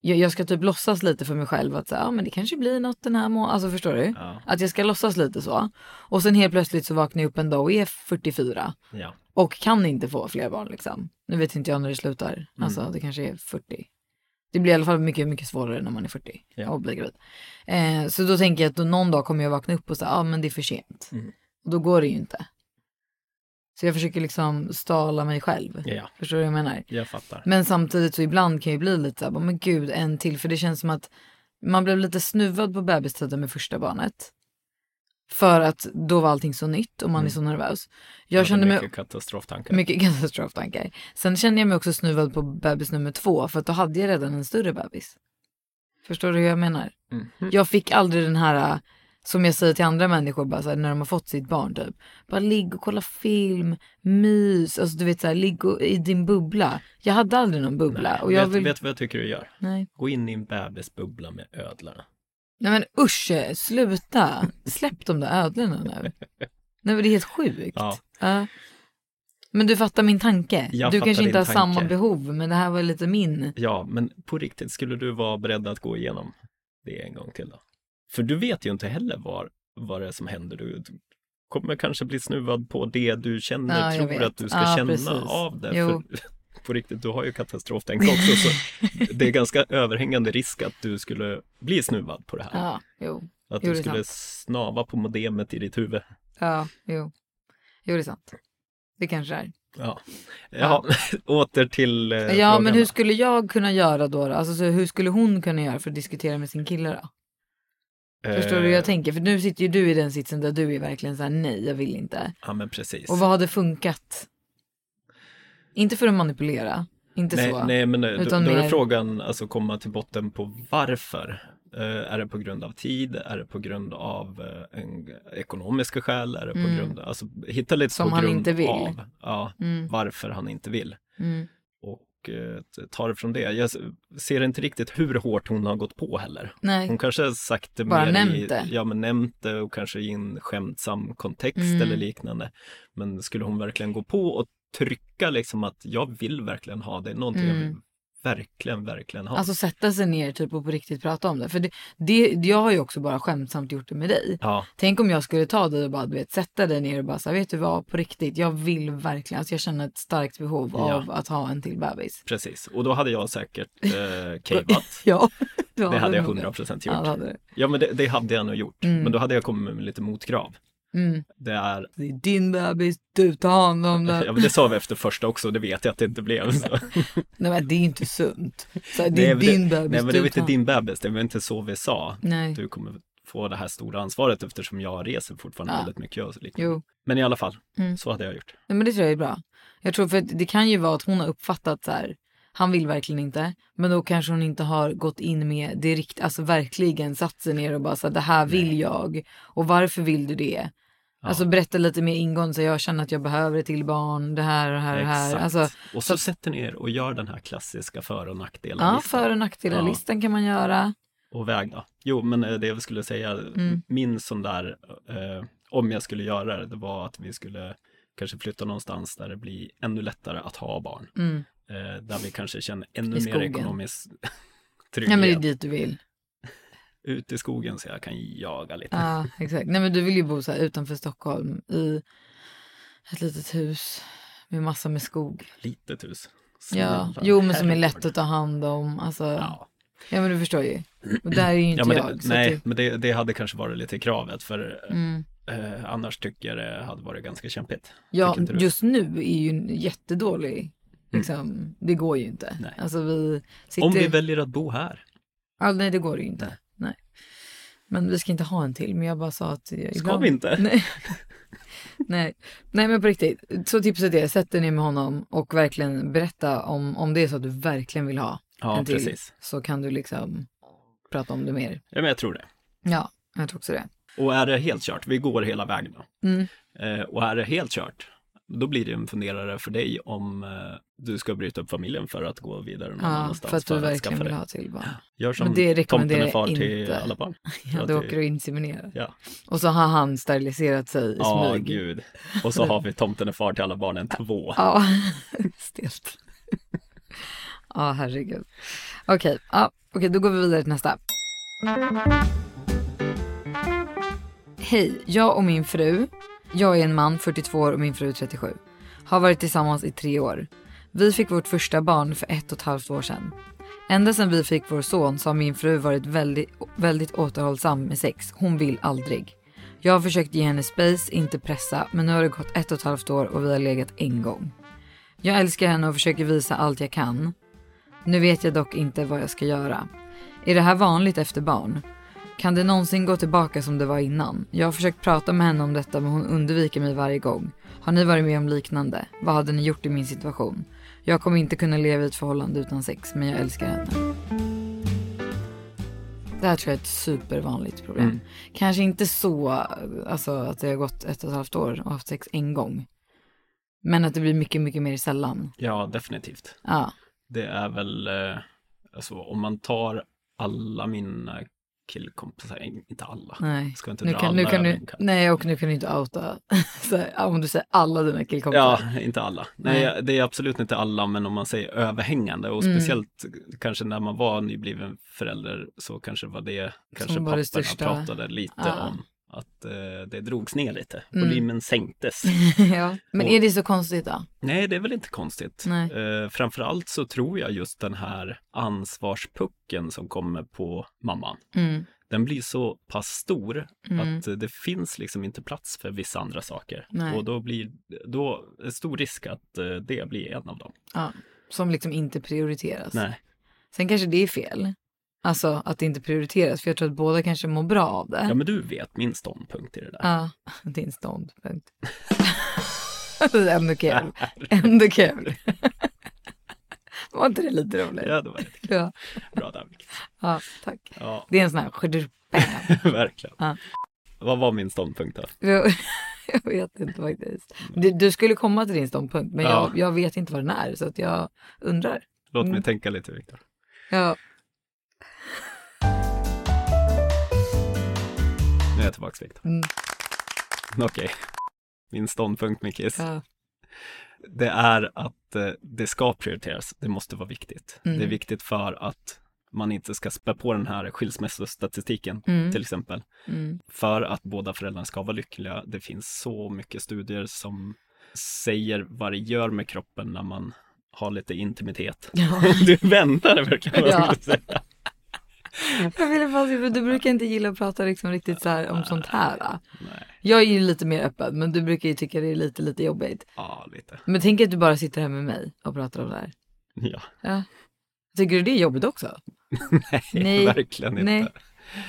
jag, jag ska typ låtsas lite för mig själv att så här, ja men det kanske blir något den här månaden. Alltså förstår du?
Ja.
Att jag ska låtsas lite så. Och sen helt plötsligt så vaknar jag upp en dag och är 44
Ja.
och kan inte få fler barn liksom. Nu vet inte jag när det
Mm.
slutar. Alltså det kanske är 40. Det blir i alla fall mycket, mycket svårare när man är 40
Ja.
och blir gravid. Eh, så då tänker jag att då någon dag kommer jag vakna upp och säga, ja ah, men det är för sent.
Mm.
Och då går det ju inte. Så jag försöker liksom stala mig själv.
Ja.
Förstår du vad jag menar?
Jag fattar.
Men samtidigt så ibland kan jag ju bli lite såhär, men gud en till. För det känns som att man blev lite snuvad på bebistiden med första barnet. För att då var allting så nytt och man
Mm.
är så nervös. Jag
Jag
kände mig
mycket katastroftankar.
mycket katastroftankar. Sen kände jag mig också snuvad på bebis nummer två för att då hade jag redan en större bebis. Förstår du hur jag menar?
Mhm.
Jag fick aldrig den här, äh, som jag säger till andra människor bara så här, när de har fått sitt barn typ. Bara ligg och kolla film, mys, alltså du vet så här, ligg och, i din bubbla. Jag hade aldrig någon bubbla. och jag
vet,
vill...
vet du vad jag tycker du gör?
Nej.
Gå in i en bebisbubbla med ödlorna.
Nej men usch, eh, sluta. Släpp de där ödlorna nu. Nej men det är helt sjukt.
Ja.
Ja. Men du fattar min tanke.
Jag
du
fattar
kanske inte har
din
samma
tanke.
behov men det här var lite min.
Ja, men på riktigt, skulle du vara beredd att gå igenom det en gång till då? För du vet ju inte heller vad, vad det är som händer. Du, du kommer kanske bli snuvad på det du känner,
Ja, jag
tror
vet.
att du ska
Ja,
känna
precis.
av det.
Jo.
För, på riktigt, du har ju katastroftänk också, så det är ganska överhängande risk att du skulle bli snuvad på det här.
Ja, jo.
att
jo,
du
det är
skulle snava på modemet i ditt huvud.
Ja, jo. Jo det är sant. Det kanske
Eh,
är.
Ja, ja. åter till eh,
ja
frågan
men hur
då.
skulle jag kunna göra då? då? Alltså så hur skulle hon kunna göra för att diskutera med sin kille då? Förstår du hur jag
Eh,
tänker? För nu sitter ju du i den sitsen där du är verkligen så här nej jag vill inte.
Ja, men precis.
Och vad hade funkat? Inte för att manipulera. Inte
nej,
så.
Nej, men nej, då,
Utan
då är
mer-
det frågan alltså komma till botten på varför. Eh, är det på grund av tid? Är det på grund av eh, en, ekonomiska skäl? Är det på grund av, alltså hitta lite
Mm. Som
på
han
grund
inte vill.
av ja, varför han inte vill.
Mm.
Och eh, ta det från det. Jag s- ser inte riktigt hur hårt hon har gått på heller.
Nej.
Hon kanske har sagt det
Bara
mer
nämnt
i,
det.
Ja, men nämnt det och kanske i en skämtsam kontext
Mm.
eller liknande. Men skulle hon verkligen gå på och trycka liksom att jag vill verkligen ha det, någonting jag vill verkligen, verkligen ha.
Mm. Alltså sätta sig ner typ och på riktigt prata om det. För det, det, jag har ju också bara skämtsamt gjort det med dig.
ja,
Tänk om jag skulle ta dig och bara du vet, sätta dig ner och bara så här, vet du vad, på riktigt, jag vill verkligen, alltså jag känner ett starkt behov
Ja.
av att ha en till bebis.
precis. Och då hade jag säkert eh, caveat.
Ja, du
Det hade jag
nog
100 procent
Ja, det Mm.
gjort.
hade du.
Ja, men det, det hade jag nog gjort. Men då hade jag kommit med lite motkrav.
Mm.
Det är
Det är din bebis, du tar hand om
Ja,
den.
men det sa vi efter första också, det vet jag att det inte blev. Så.
Nej men det är inte sunt. Så här, det är
Nej, men
din
det-
bebis,
Nej, men
du
det var
tar
inte
hand-
din bebis, det var inte så vi sa.
Nej.
Du kommer få det här stora ansvaret eftersom jag reser fortfarande
Ja.
väldigt mycket. Och så liknande.
Jo. Mm.
Men i alla fall, så hade jag gjort.
Nej men det tror jag är bra. Jag tror för att det kan ju vara att hon har uppfattat så här, han vill verkligen inte. Men då kanske hon inte har gått in med det rikt, alltså verkligen satt sig ner och bara så här, det här vill jag. Och varför vill du det? Alltså berätta lite mer ingående så jag känner att jag behöver ett till barn, det här och det här och det här.
Exakt.
Alltså,
och så, sätter ni er och gör den här klassiska för och
ja,
nackdelar
för och nackdelar-listan kan man göra.
och väga. Jo, men eh, det jag skulle säga,
Mm.
min sån där, eh, om jag skulle göra det, det var att vi skulle kanske flytta någonstans där det blir ännu lättare att ha barn. Eh, där vi kanske känner ännu
Mm. I
mer
skogen.
ekonomisk
Nej
trygghet.
men det är dit du vill.
Ut i skogen så jag kan jaga lite.
Ja, exakt. Nej men du vill ju bo så här utanför Stockholm i ett litet hus med massa med skog.
Litet hus.
Ja.
Snälla,
Jo men som är
herregud.
lätt att ta hand om. Alltså, ja.
Ja,
men du förstår ju. Och där är ju inte
ja men
jag.
det,
så typ-
nej,
att
men det, det hade kanske varit lite kravet för
det, mm.
eh, annars tycker jag det hade varit ganska kämpigt.
Ja,
Tycker inte du? Mm.
just nu är ju en jättedålig. Liksom, Det går ju inte.
Nej.
Alltså vi sitter...
Om vi väljer att bo här.
Ja, nej, det går ju inte. Nej. Men vi ska inte ha en till, men jag bara sa att... Jag,
Ska vi inte?
Nej. nej. nej, men på riktigt. Så tipset är, sätt dig ner med honom och verkligen berätta om, om det är så att du verkligen vill ha
Ja,
en till.
precis.
Så kan du liksom prata om det mer.
Ja, men jag tror det.
Ja, jag tror också det.
Och är det helt kört, vi går hela vägen då.
Mm.
Eh, och är det helt kört, då blir det en funderare för dig om eh, du ska bryta upp familjen för att gå vidare någon
Ja,
annanstans
för att du
skaffa
verkligen vill
dig.
ha till barn.
Gör som
Men det
tomten
rekommenderar
är far
jag
till
inte.
alla barn.
Ja,
Att
du
du-
åker och inseminerar.
Ja,
Och så har han steriliserat sig i
Ja,
smyg.
gud. Och så har vi tomten är far till alla barnen två.
Ja, stelt. Ja, herregud. Okej, ja, okej, då går vi vidare till nästa. Hej, jag och min fru. Jag är en man, 42 år och min fru 37. Har varit tillsammans i tre år. Vi fick vårt första barn för ett och ett halvt år sedan. Ända sedan vi fick vår son så har min fru varit väldigt, väldigt återhållsam med sex. Hon vill aldrig. Jag har försökt ge henne space, inte pressa, men nu har det gått ett och ett halvt år och vi har legat en gång. Jag älskar henne och försöker visa allt jag kan. Nu vet jag dock inte vad jag ska göra. Är det här vanligt efter barn? Kan det någonsin gå tillbaka som det var innan? Jag har försökt prata med henne om detta men hon undviker mig varje gång. Har ni varit med om liknande? Vad hade ni gjort i min situation? Jag kommer inte kunna leva i ett förhållande utan sex men jag älskar henne. Det här tror jag är ett supervanligt problem. Kanske inte så alltså, att det har gått ett och ett halvt år och haft sex en gång. Men att det blir mycket, mycket mer sällan.
Ja, definitivt.
Ja.
Det är väl, eh, alltså om man tar alla mina killkompisar, eh, inte alla,
Nej.
ska inte
nu
dra
kan,
alla
nu kan
över
du,
en kam.
nej, och nu kan du inte outa, så här, om du säger alla dina killkompisar.
Ja, inte alla. Nej, det är absolut inte alla, men om man säger överhängande och
Mm.
speciellt kanske när man var nybliven förälder så kanske var det kanske
var det
papporna
största.
pratade lite
Ja. Mm.
om att eh, det drogs ner lite, volymen sänktes.
Ja. Men är det så konstigt då?
Nej, det är väl inte konstigt.
Nej.
Eh, framförallt så tror jag just den här ansvarspucken som kommer på mamman.
Mm.
Den blir så pass stor att eh, det finns liksom inte plats för vissa andra saker.
Nej.
Och då blir då är stor risk att eh, det blir en av dem.
Ja. Som liksom inte prioriteras.
Nej.
Sen kanske det är fel. Alltså att det inte prioriteras. För jag tror att båda kanske mår bra av det.
Ja, men du vet min ståndpunkt i det där.
Ja, din ståndpunkt. Det är Ändå kul. Ändå kul. Var inte det lite roligt?
Ja, det var lite
Ja,
bra där. Micke.
ja tack.
Ja,
Det är en sån här skidruppe.
verkligen.
Ja.
Vad var min ståndpunkt då?
Jag jag vet inte faktiskt. Du, du skulle komma till din ståndpunkt, men
Ja.
jag, jag vet inte vad den är, så att jag undrar.
Låt mig tänka lite, Viktor.
Ja,
Nu är jag tillbaka, Viktor.
Mm.
Okej. Min ståndpunkt, Mickis.
ja,
det är att eh, det ska prioriteras. Det måste vara viktigt.
Mm.
Det är viktigt för att man inte ska spä på den här skilsmässostatistiken
Mm.
till exempel. För att båda föräldrarna ska vara lyckliga. Det finns så mycket studier som säger vad det gör med kroppen när man har lite intimitet. du väntade verkligen vad jag
Ja.
skulle säga.
Jag ville bara säga, för du brukar inte gilla att prata liksom riktigt så här om sånt här. va? Jag är ju lite mer öppen, men du brukar ju tycka det är lite, lite jobbigt.
Ja, lite.
Men tänk att du bara sitter här med mig och pratar om det här.
Ja,
Ja. Tycker du det är jobbigt också? Nej.
verkligen inte.
Nej.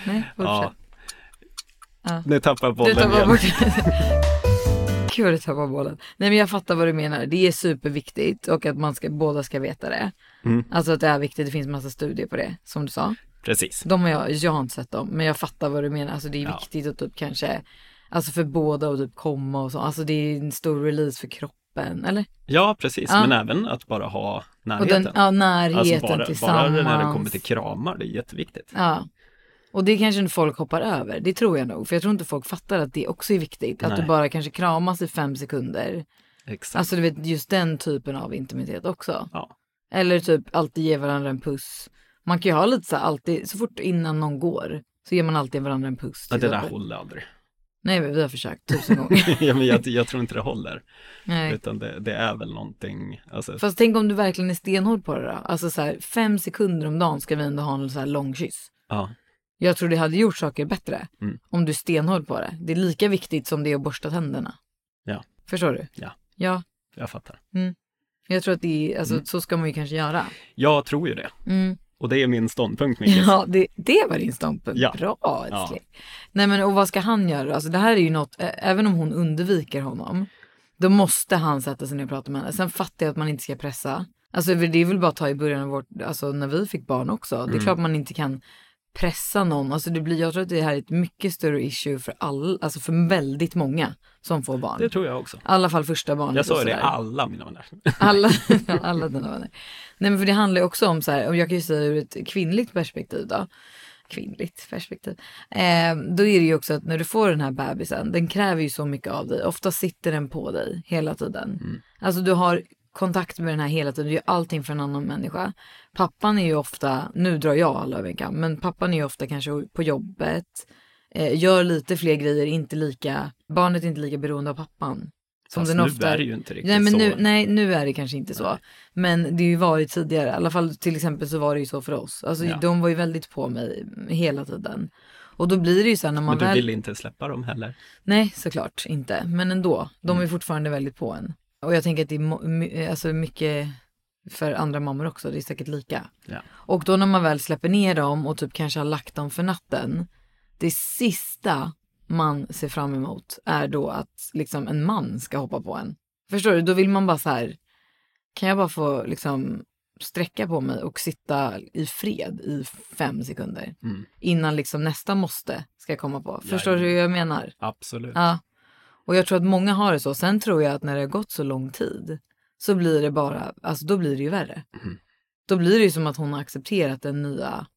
Nej,
Ja.
fortsätt. Ja.
Nu tappar jag bollen
Du tappar
igen.
bort Gud, du tappar bollen. Nej, men jag fattar vad du menar. Det är superviktigt och att man ska, båda ska veta det.
Mm.
Alltså att det är viktigt. Det finns massa studier på det, som du sa.
Precis.
De har jag, jag har inte sett dem, men jag fattar vad du menar. Alltså det är
Ja.
viktigt att typ kanske Alltså för båda och typ komma och så. Alltså det är en stor release för kroppen, eller?
Ja, precis,
Ja.
men även att bara ha
Och
närheten.
den, ja, närheten
alltså bara, bara
tillsammans.
när det kommer till kramar, det är jätteviktigt.
Ja. Och det kanske inte folk hoppar över, det tror jag nog. För jag tror inte folk fattar att det också är viktigt. Att
Nej.
du bara kanske kramas i fem sekunder.
Exakt.
Alltså du vet just den typen av intimitet också.
ja.
Eller typ alltid ge varandra en puss. Man kan ju ha lite så här alltid, så fort innan någon går så ger man alltid varandra en puss.
ja,
till
det där
exempel.
håller aldrig.
Nej men vi har försökt tusen gånger.
ja, men jag, jag tror inte det håller,
Nej.
utan det, det är väl någonting, alltså,
Fast tänk om du verkligen är stenhård på det då. Alltså så här fem sekunder om dagen ska vi ändå ha en så här lång kyss.
ja.
Jag tror det hade gjort saker bättre
Mm.
om du är stenhård på det. Det är lika viktigt som det är att borsta tänderna.
Ja.
Förstår du?
Ja.
Ja,
Jag fattar.
jag tror att det är, alltså
Mm.
så ska man ju kanske göra.
Jag tror ju det.
Mm.
Och det är min ståndpunkt, Micke.
Ja, det, det var din ståndpunkt.
Ja.
Bra
Ja.
älskling. Nej men och vad ska han göra? Alltså det här är ju något, ä- även om hon undviker honom, då måste han sätta sig ner och prata med henne. Sen fattar jag att man inte ska pressa. Alltså det är väl bara att ta i början av vårt, alltså när vi fick barn också.
Mm.
Det är klart man inte kan pressa någon. Alltså det blir, jag tror att det här är ett mycket större issue för all, alltså för väldigt många som får barn.
Det tror jag också.
I alla fall första barnet.
Jag
och
sa ju det,
sådär.
alla mina vänner.
Alla, alla dina vänner. Nej men för det handlar ju också om så här, och jag kan ju säga ur ett kvinnligt perspektiv då. Kvinnligt perspektiv. Eh, då är det ju också att när du får den här bebisen, den kräver ju så mycket av dig. Ofta sitter den på dig hela tiden. Alltså du har kontakt med den här hela tiden, du gör allting för en annan människa. Pappan är ju ofta, nu drar jag alla över en kam, men pappan är ju ofta kanske på jobbet, eh, gör lite fler grejer, inte lika, barnet är inte lika beroende av pappan.
Fast nu är det ju inte riktigt
nej, men
så.
Nu, nej, nu är det kanske inte så. Men det har ju varit tidigare, i alla fall till exempel så var det ju så för oss. Alltså
Ja.
de var ju väldigt på mig hela tiden. Och då blir det ju så här när man
Men du
väl...
vill inte släppa dem heller.
Nej, såklart inte. Men ändå, de
Mm.
är fortfarande väldigt på en. Och jag tänker att det är mo- my- alltså mycket för andra mammor också, det är säkert lika.
Ja.
Och då när man väl släpper ner dem och typ kanske har lagt dem för natten, det sista man ser fram emot är då att liksom en man ska hoppa på en. Förstår du? Då vill man bara så här, kan jag bara få liksom sträcka på mig och sitta i fred i fem sekunder
Mm.
innan liksom nästa måste ska komma på. Förstår du hur jag menar?
Absolut.
Ja. Och jag tror att många har det så. Sen tror jag att när det har gått så lång tid så blir det bara, alltså då blir det ju värre.
Mm.
Då blir det ju som att hon har accepterat den nya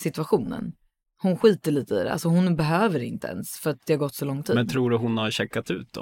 situationen. Hon skiter lite i det, alltså hon behöver inte ens för att det har gått så lång tid.
Men tror du hon har checkat ut då?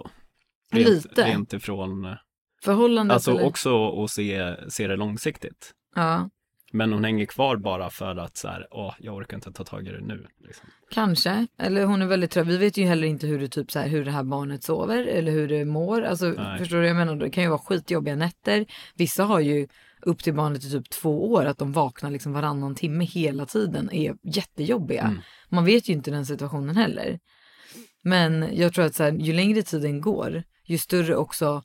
Alltså- Lite.
Rent ifrån,
Förhållandet
alltså
eller?
också att se, se det långsiktigt.
Ja,
Men hon hänger kvar bara för att så här, åh, jag orkar inte ta tag i det nu. Liksom.
kanske. Eller hon är väldigt trött. Vi vet ju heller inte hur det, typ så här, hur det här barnet sover eller hur det mår. Alltså,
Nej.
förstår du? vad Jag menar, det kan ju vara skitjobbiga nätter. Vissa har ju upp till barnet i typ två år att de vaknar liksom varannan timme hela tiden är jättejobbiga. Man vet ju inte den situationen heller. Men jag tror att så här, ju längre tiden går, ju större också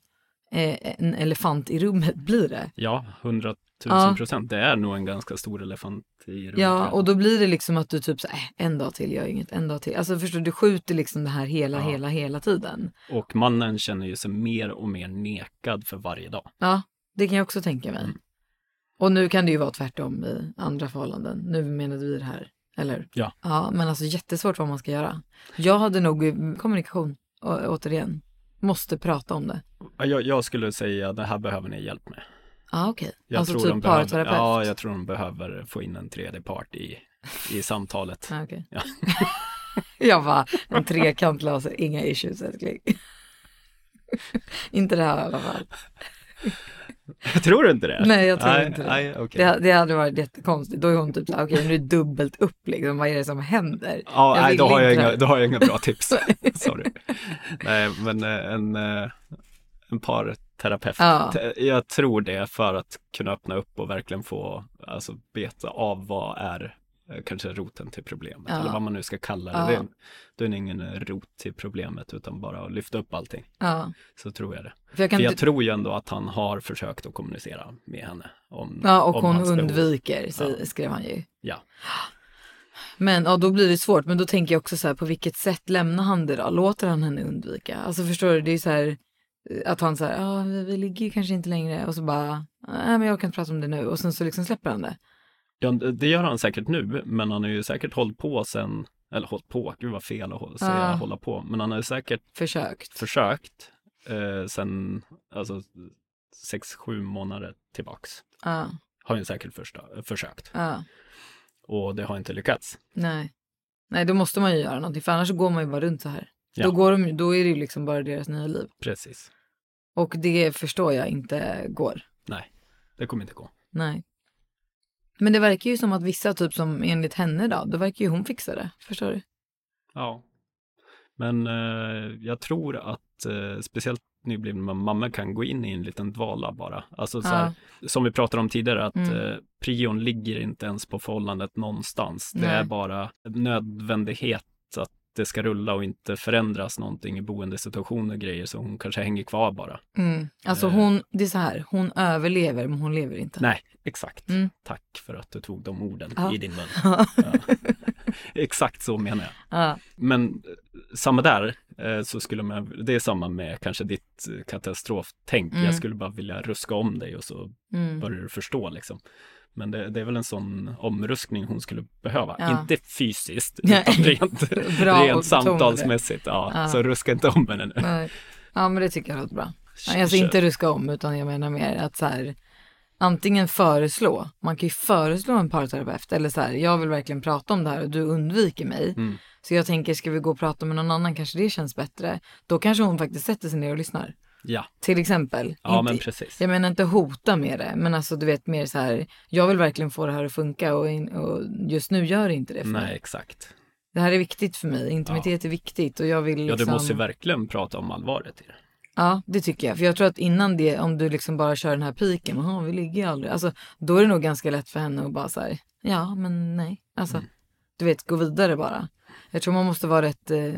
eh, en elefant i rummet blir det.
Ja, 100
Ja.
000 procent. Det är nog en ganska stor elefant i rummet.
Ja, och då blir det liksom att du typ så här, "Äh, en dag till gör inget, en dag till. Alltså förstår du, du skjuter liksom det här hela, hela, hela tiden.
Och mannen känner ju sig mer och mer nekad för varje dag.
Ja, det kan jag också tänka
Mm.
mig. Och nu kan det ju vara tvärtom i andra förhållanden. Nu menade vi det här, eller
Ja.
Ja, men alltså jättesvårt vad man ska göra. Jag hade nog eh, kommunikation, å- återigen. Måste prata om det.
Jag, jag skulle säga, det här behöver ni hjälp med.
Ja, okej.
Jag
Alltså
tror de
typ
behöver-
parterapeut.
Ja, jag tror de behöver få in en tredje part i, i samtalet.
Ja, okej.
Ja.
jag bara, en trekant löser inga issues älskling. inte det här i alla fall.
tror du inte det?
Nej, jag tror inte det.
nej, okej.
Det, det hade varit jättekonstigt. Då är hon typ såhär, okej nu är det dubbelt upp liksom, vad är det som händer?
Ja, nej,
vill
då har, jag
inte det
inga,
här.
då har jag inga bra tips. Sorry. Nej, men eh, en, eh, en parterapeut.
Ja.
Te- Jag tror det för att kunna öppna upp och verkligen få alltså, beta av vad är eh, kanske roten till problemet
Ja.
eller vad man nu ska kalla det.
Ja.
det. är- Då är det ingen eh, rot till problemet utan bara att lyfta upp allting.
Ja,
Så tror jag det.
för jag kan
För jag
inte-
tror ju ändå att han har försökt att kommunicera med henne. Om,
ja och
om
hon
hans behov.
undviker, så,
Ja.
skrev han ju.
Ja.
Men ja, då blir det svårt. Men då tänker jag också så här, på vilket sätt lämnar han det då? Låter han henne undvika? Alltså förstår du, det är ju så här eh, att han så här, ja vi, vi ligger ju kanske inte längre och så bara, nej men jag orkar inte prata om det nu och sen så liksom släpper han det.
Ja, det gör han säkert nu, men han har ju säkert hållit på sen Eller hållit på, gud vad fel att hå- säga
Ja.
hålla på. Men han har ju säkert
Försökt.
försökt eh, sen alltså sex, sju månader tillbaks.
ja,
Har han säkert första, försökt
ja,
och det har inte lyckats.
nej. Nej, då måste man ju göra någonting för annars så går man ju bara runt så här.
Ja.
Då, går de, ju- då är det ju liksom bara deras nya liv.
Precis.
Och det förstår jag inte går.
Nej, det kommer inte gå.
Nej. Men det verkar ju som att vissa, typ som enligt henne då, då verkar ju hon fixa det. Förstår du?
Ja. Men eh, jag tror att eh, speciellt nyblivna mammor kan gå in i en liten dvala bara. Alltså så här, som vi pratade om tidigare att
Mm.
eh, prion ligger inte ens på förhållandet någonstans. Det
Nej.
är bara nödvändighet att det ska rulla och inte förändras någonting i boendesituationer och grejer så hon kanske hänger kvar bara.
Mm. Alltså
Eh.
hon, det är så här, hon överlever men hon lever inte.
Nej, exakt.
Mm.
Tack för att du tog de orden
Ja.
i din mun.
Ja.
Ja. Exakt så menar jag.
Ja.
Men eh, samma där, eh, så skulle man, det är samma med kanske ditt eh, katastroftänk.
Mm.
Jag skulle bara vilja ruska om dig och så
Mm.
börjar du förstå liksom. Men det, det är väl en sån omruskning hon skulle behöva.
Ja.
Inte fysiskt,
Nej.
utan rent,
Bra
rent
och betona det.
samtalsmässigt. Ja,
Ja.
Så ruska inte om henne nu.
Nej. Ja men det tycker jag låter bra.
Kör.
Nej, Alltså inte ruska om utan jag menar mer att så här antingen föreslå, man kan ju föreslå en parterapeut eller så här jag vill verkligen prata om det här och du undviker mig.
Mm.
Så jag tänker ska vi gå och prata med någon annan kanske det känns bättre. Då kanske hon faktiskt sätter sig ner och lyssnar.
Ja,
Till exempel.
ja
Inte-
men precis.
Jag menar inte hota med det, men alltså du vet mer så här, jag vill verkligen få det här att funka och, in, och just nu gör det inte det för
Nej,
mig.
exakt.
Det här är viktigt för mig, intimitet är viktigt och jag vill
Ja,
liksom...
du måste ju verkligen prata om allvaret i det.
Ja, det tycker jag. För jag tror att innan det, om du liksom bara kör den här piken, jaha, vi ligger ju aldrig. Alltså, då är det nog ganska lätt för henne att bara så här, ja, men nej. Alltså, du vet, gå vidare bara. Jag tror man måste vara rätt, eh,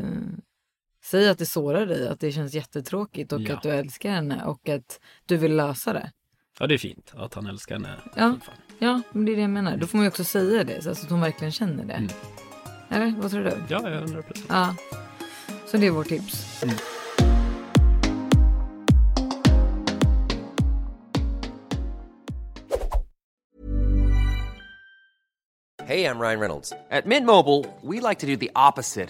säg att det sårar dig, att det känns jättetråkigt och
Ja.
att du älskar henne och att du vill lösa det.
Ja, det är fint att han älskar henne
Ja.
fortfarande.
Ja, men det är det jag menar. Då får man ju också säga det, så alltså att hon verkligen känner det. Eller vad tror du?
Ja, ja, 100 procent.
Ja. Så det är vårt tips.
Hey, I'm Ryan Reynolds. At Mint Mobile, we like to do the opposite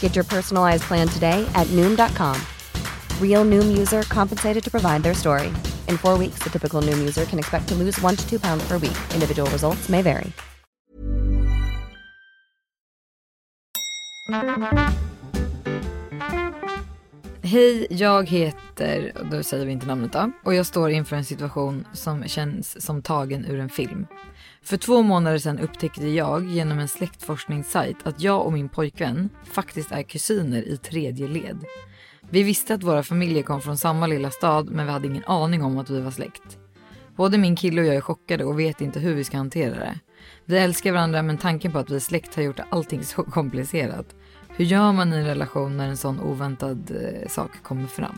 Get your personalized plan today at Noom.com. Real Noom user compensated to provide their story. In four weeks, the typical Noom user can expect to lose one to two pounds per week. Individual results may vary.
Hej, jag heter, och då säger vi inte namnet då, och jag står inför en situation som känns som tagen ur en film. För två månader sedan upptäckte jag genom en släktforskningssajt att jag och min pojkvän faktiskt är kusiner i tredje led. Vi visste att våra familjer kom från samma lilla stad men vi hade ingen aning om att vi var släkt. Både min kille och jag är chockade och vet inte hur vi ska hantera det. Vi älskar varandra men tanken på att vi är släkt har gjort allting så komplicerat. Hur gör man i en relation när en sån oväntad eh, sak kommer fram?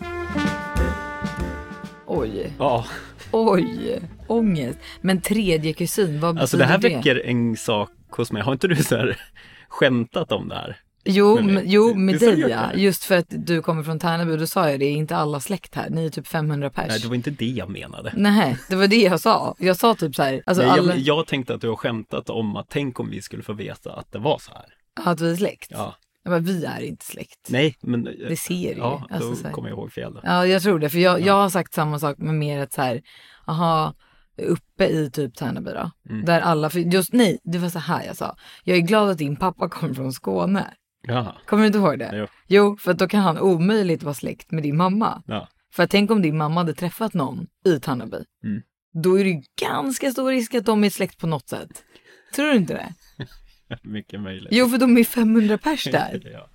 Oj,
Ja,
oj, ångest. Men tredje kusin, vad betyder
alltså det här
det?
väcker en sak hos mig. Har inte du så här skämtat om det här?
Jo,
med mig.
men, jo med
Visst har du
dig
gjort
ja.
det?
Just för att du kommer från Tärnaby, då sa jag det, är inte alla släkt här, ni är typ 500 pers.
Nej, det var inte det jag menade.
Nej, det var det jag sa. Jag sa typ så här, alltså
Nej,
alla...
jag, jag tänkte att du har skämtat om att tänk om vi skulle få veta att det var så här.
Att vi är släkt?
Ja.
Jag bara, vi är inte släkt.
Nej, men... eh,
Det ser ju.
Ja, då
Alltså, så här-
kommer jag ihåg fel. Då.
Ja, jag tror det. För jag, jag har sagt samma sak, men mer att så här, aha, uppe i typ Tärnaby då.
Mm.
Där alla, för just nej, det var så här jag sa. Jag är glad att din pappa kom från Skåne.
Jaha.
Kommer du inte ihåg det?
Jo.
för att då kan han omöjligt vara släkt med din mamma.
Ja.
För att tänk om din mamma hade träffat någon i Tannaby.
Mm.
Då är det ju ganska stor risk att de är släkt på något sätt. Tror du inte det?
Mycket möjligt.
Jo, för de är 500 pers där.
ja.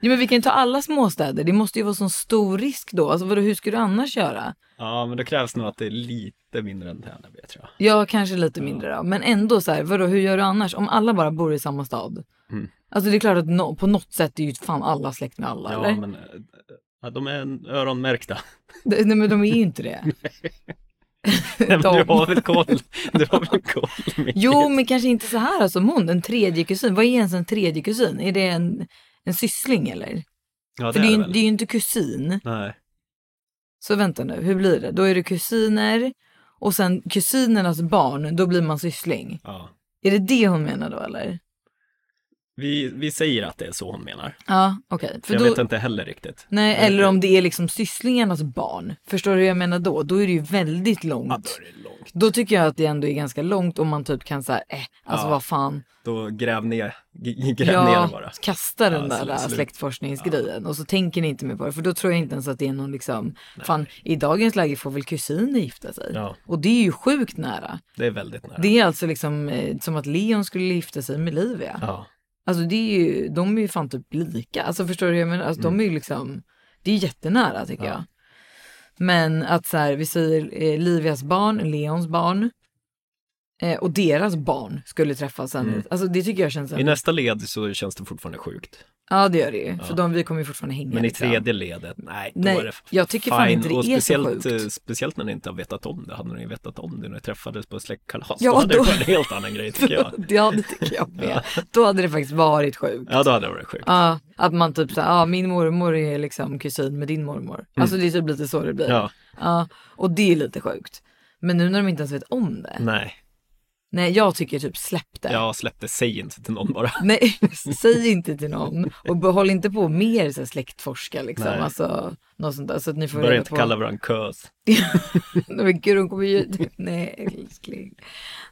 Jo, men vi kan ju ta alla småstäder. Det måste ju vara sån stor risk då. Alltså vadå, hur ska du annars göra?
ja, men då krävs nog att det är lite mindre än Tärnaby, tror jag.
Ja, kanske lite mindre då. Men ändå så här, vadå, hur gör du annars? Om alla bara bor i samma stad.
Mm.
Alltså det är klart att no, på något sätt är ju fan alla släkt med alla,
Ja,
eller?
men eh, ja, de är öronmärkta.
Det- Nej, men de är ju inte det.
Nej, men du
De.
har väl koll? Du har väl koll? Micke?
Jo, men kanske inte så här som hon, en tredje kusin. Vad är ens en tredje kusin? Är det en, en syssling eller?
ja,
För det är, ju,
väl.
det är ju inte kusin.
Nej.
Så vänta nu, hur blir det? Då är det kusiner och sen kusinernas barn, då blir man syssling.
Ja.
Är det det hon menar då eller?
Vi, vi säger att det är så hon menar.
Ja, okej. För
jag
då-
vet inte heller riktigt.
Nej, eller om det är liksom sysslingarnas barn. Förstår du hur jag menar då? Då är det ju väldigt långt.
Ja, då är det långt.
Då tycker jag att det ändå är ganska långt om man typ kan säga, eh, alltså
Ja.
vad fan.
Då gräv ner, g- gräv
Ja,
ner bara.
kasta den
Ja,
där
slut- slut.
släktforskningsgrejen och så tänker ni inte mer på det för då tror jag inte ens att det är någon liksom, fan i dagens läge får väl kusiner gifta sig?
Ja.
Och det är ju sjukt nära.
Det är väldigt nära.
Det är alltså liksom eh, som att Leon skulle gifta sig med Livia.
Ja.
Alltså det är ju, de är ju fan typ lika. Alltså förstår du hur jag menar? Alltså
Mm.
de är ju liksom, det är jättenära tycker jag. Men att så här, vi säger eh, Livias barn, Leons barn eh, och deras barn skulle träffas sen.
Mm.
Alltså det tycker jag känns...
I nästa led så känns det fortfarande sjukt.
Ja det gör det ju, för de, vi kommer ju fortfarande hänga.
Men i
liksom.
tredje ledet, nej, då
Nej,
är det f-
jag tycker fan
fine.
inte det
och
är så
speciellt,
sjukt.
eh, Speciellt när ni inte har vetat om det. Hade ni vetat om det när ni träffades på släktkalas,
Ja,
då hade
då-
det varit en helt annan grej tycker jag.
Ja det tycker jag med. Då hade det faktiskt varit sjukt.
Ja, då hade det varit sjukt.
Ja, att man typ såhär, ja min mormor är liksom kusin med din mormor. Alltså det är typ lite så det blir.
Mm. Ja.
Ja, och det är lite sjukt. Men nu när de inte ens vet om det.
Nej,
Nej, jag tycker typ släpp det.
jag släppte, säg inte till någon bara.
Nej, säg inte till någon och behåll inte på mer så här släktforska liksom.
Nej.
Alltså, något sånt där. Så att ni får
Börja
reda
inte
på...
kalla varandra kös.
Nej, men gud, hon kommer ju... Nej, älskling.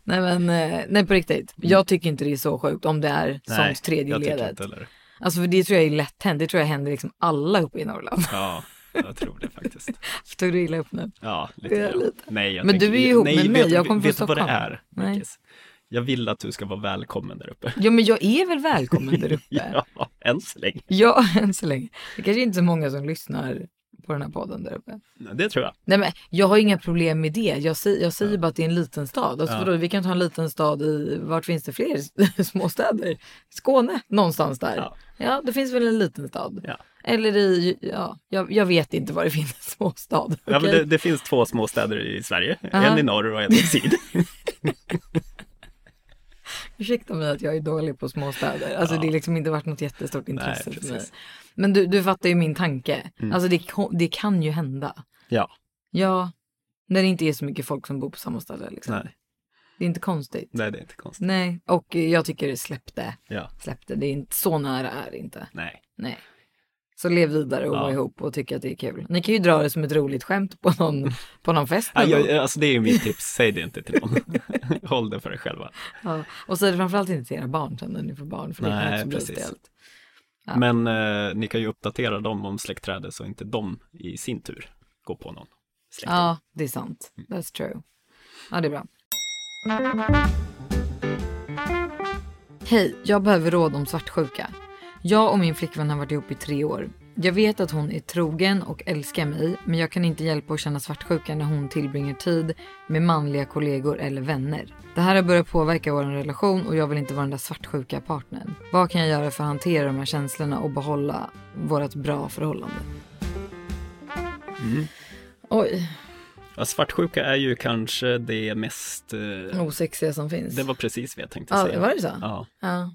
Nej, men eh, nej, på riktigt. Jag tycker inte det är så sjukt om det är
Mm. Nej,
sånt tredje
jag tycker
ledet.
inte heller.
Alltså, för det tror jag är lätt hänt. Det tror jag händer liksom alla uppe i Norrland.
Ja, jag tror det faktiskt.
Tog du illa upp nu?
Ja, lite
Det är
grann.
lite.
Nej, jag
Men
tänker-
du är ju ihop
nej,
med mig,
vet,
jag kommer från
Vet du vad det
Stockholm.
är,
Nej.
Mickis? Jag vill att du ska vara välkommen där uppe.
Ja, men jag är väl välkommen där uppe?
Ja, än så länge.
Ja, än så länge. Det kanske inte är så många som lyssnar på den här podden där uppe.
Nej, Det tror jag.
Nej men jag har inga problem med det. Jag, säger- jag säger bara att det är en liten stad. Alltså,
Ja.
vadå, vi kan ta en liten stad i, vart finns det fler småstäder? Skåne, någonstans där. Ja.
Ja.
det finns väl en liten stad.
Ja.
Eller i, ja, jag, jag vet inte var det finns en småstad.
Ja, men
okej?
det, det finns två små städer i Sverige, en i norr och en i syd.
Ursäkta mig att jag är dålig på småstäder. Alltså det har liksom inte varit något jättestort intresse för
precis. Mm.
mig. Men du, du fattar ju min tanke. Alltså det, ko- det kan ju hända.
Ja,
Ja, när det inte är så mycket folk som bor på samma ställe. Liksom.
nej,
Det är inte konstigt.
nej, det är inte konstigt.
Nej, och eh, jag tycker det släppte.
Ja,
Släppte, det är inte, så nära är det inte.
nej,
Nej. Så lev vidare och var
Ja.
ihop och tycka att det är kul. Ni kan ju dra det som ett roligt skämt på någon, på någon fest
ja,
någon
jag,
gång.
alltså det är ju mitt tips, säg det inte till någon. Håll det för dig själva.
ja. Och säg det framförallt inte till era barn sen när ni får barn, för det kan
Nej,
också bli
precis.
stelt.
Men eh, ni kan ju uppdatera dem om släktträdet så inte de i sin tur går på någon släkting.
Ja, det är sant. That's true. Ja, det är bra. Hej, jag behöver råd om svartsjuka. Jag och min flickvän har varit ihop i tre år. Jag vet att hon är trogen och älskar mig, men jag kan inte hjälpa att känna svartsjuka när hon tillbringar tid med manliga kollegor eller vänner. Det här har börjat påverka vår relation och jag vill inte vara den där svartsjuka partnern. Vad kan jag göra för att hantera de här känslorna och behålla vårt bra förhållande? Oj,
Ja, svartsjuka är ju kanske det mest, eh,
osexiga som finns.
det var precis vad jag tänkte
Oh. Ja,
säga.
var det så?
Ja,
Ja.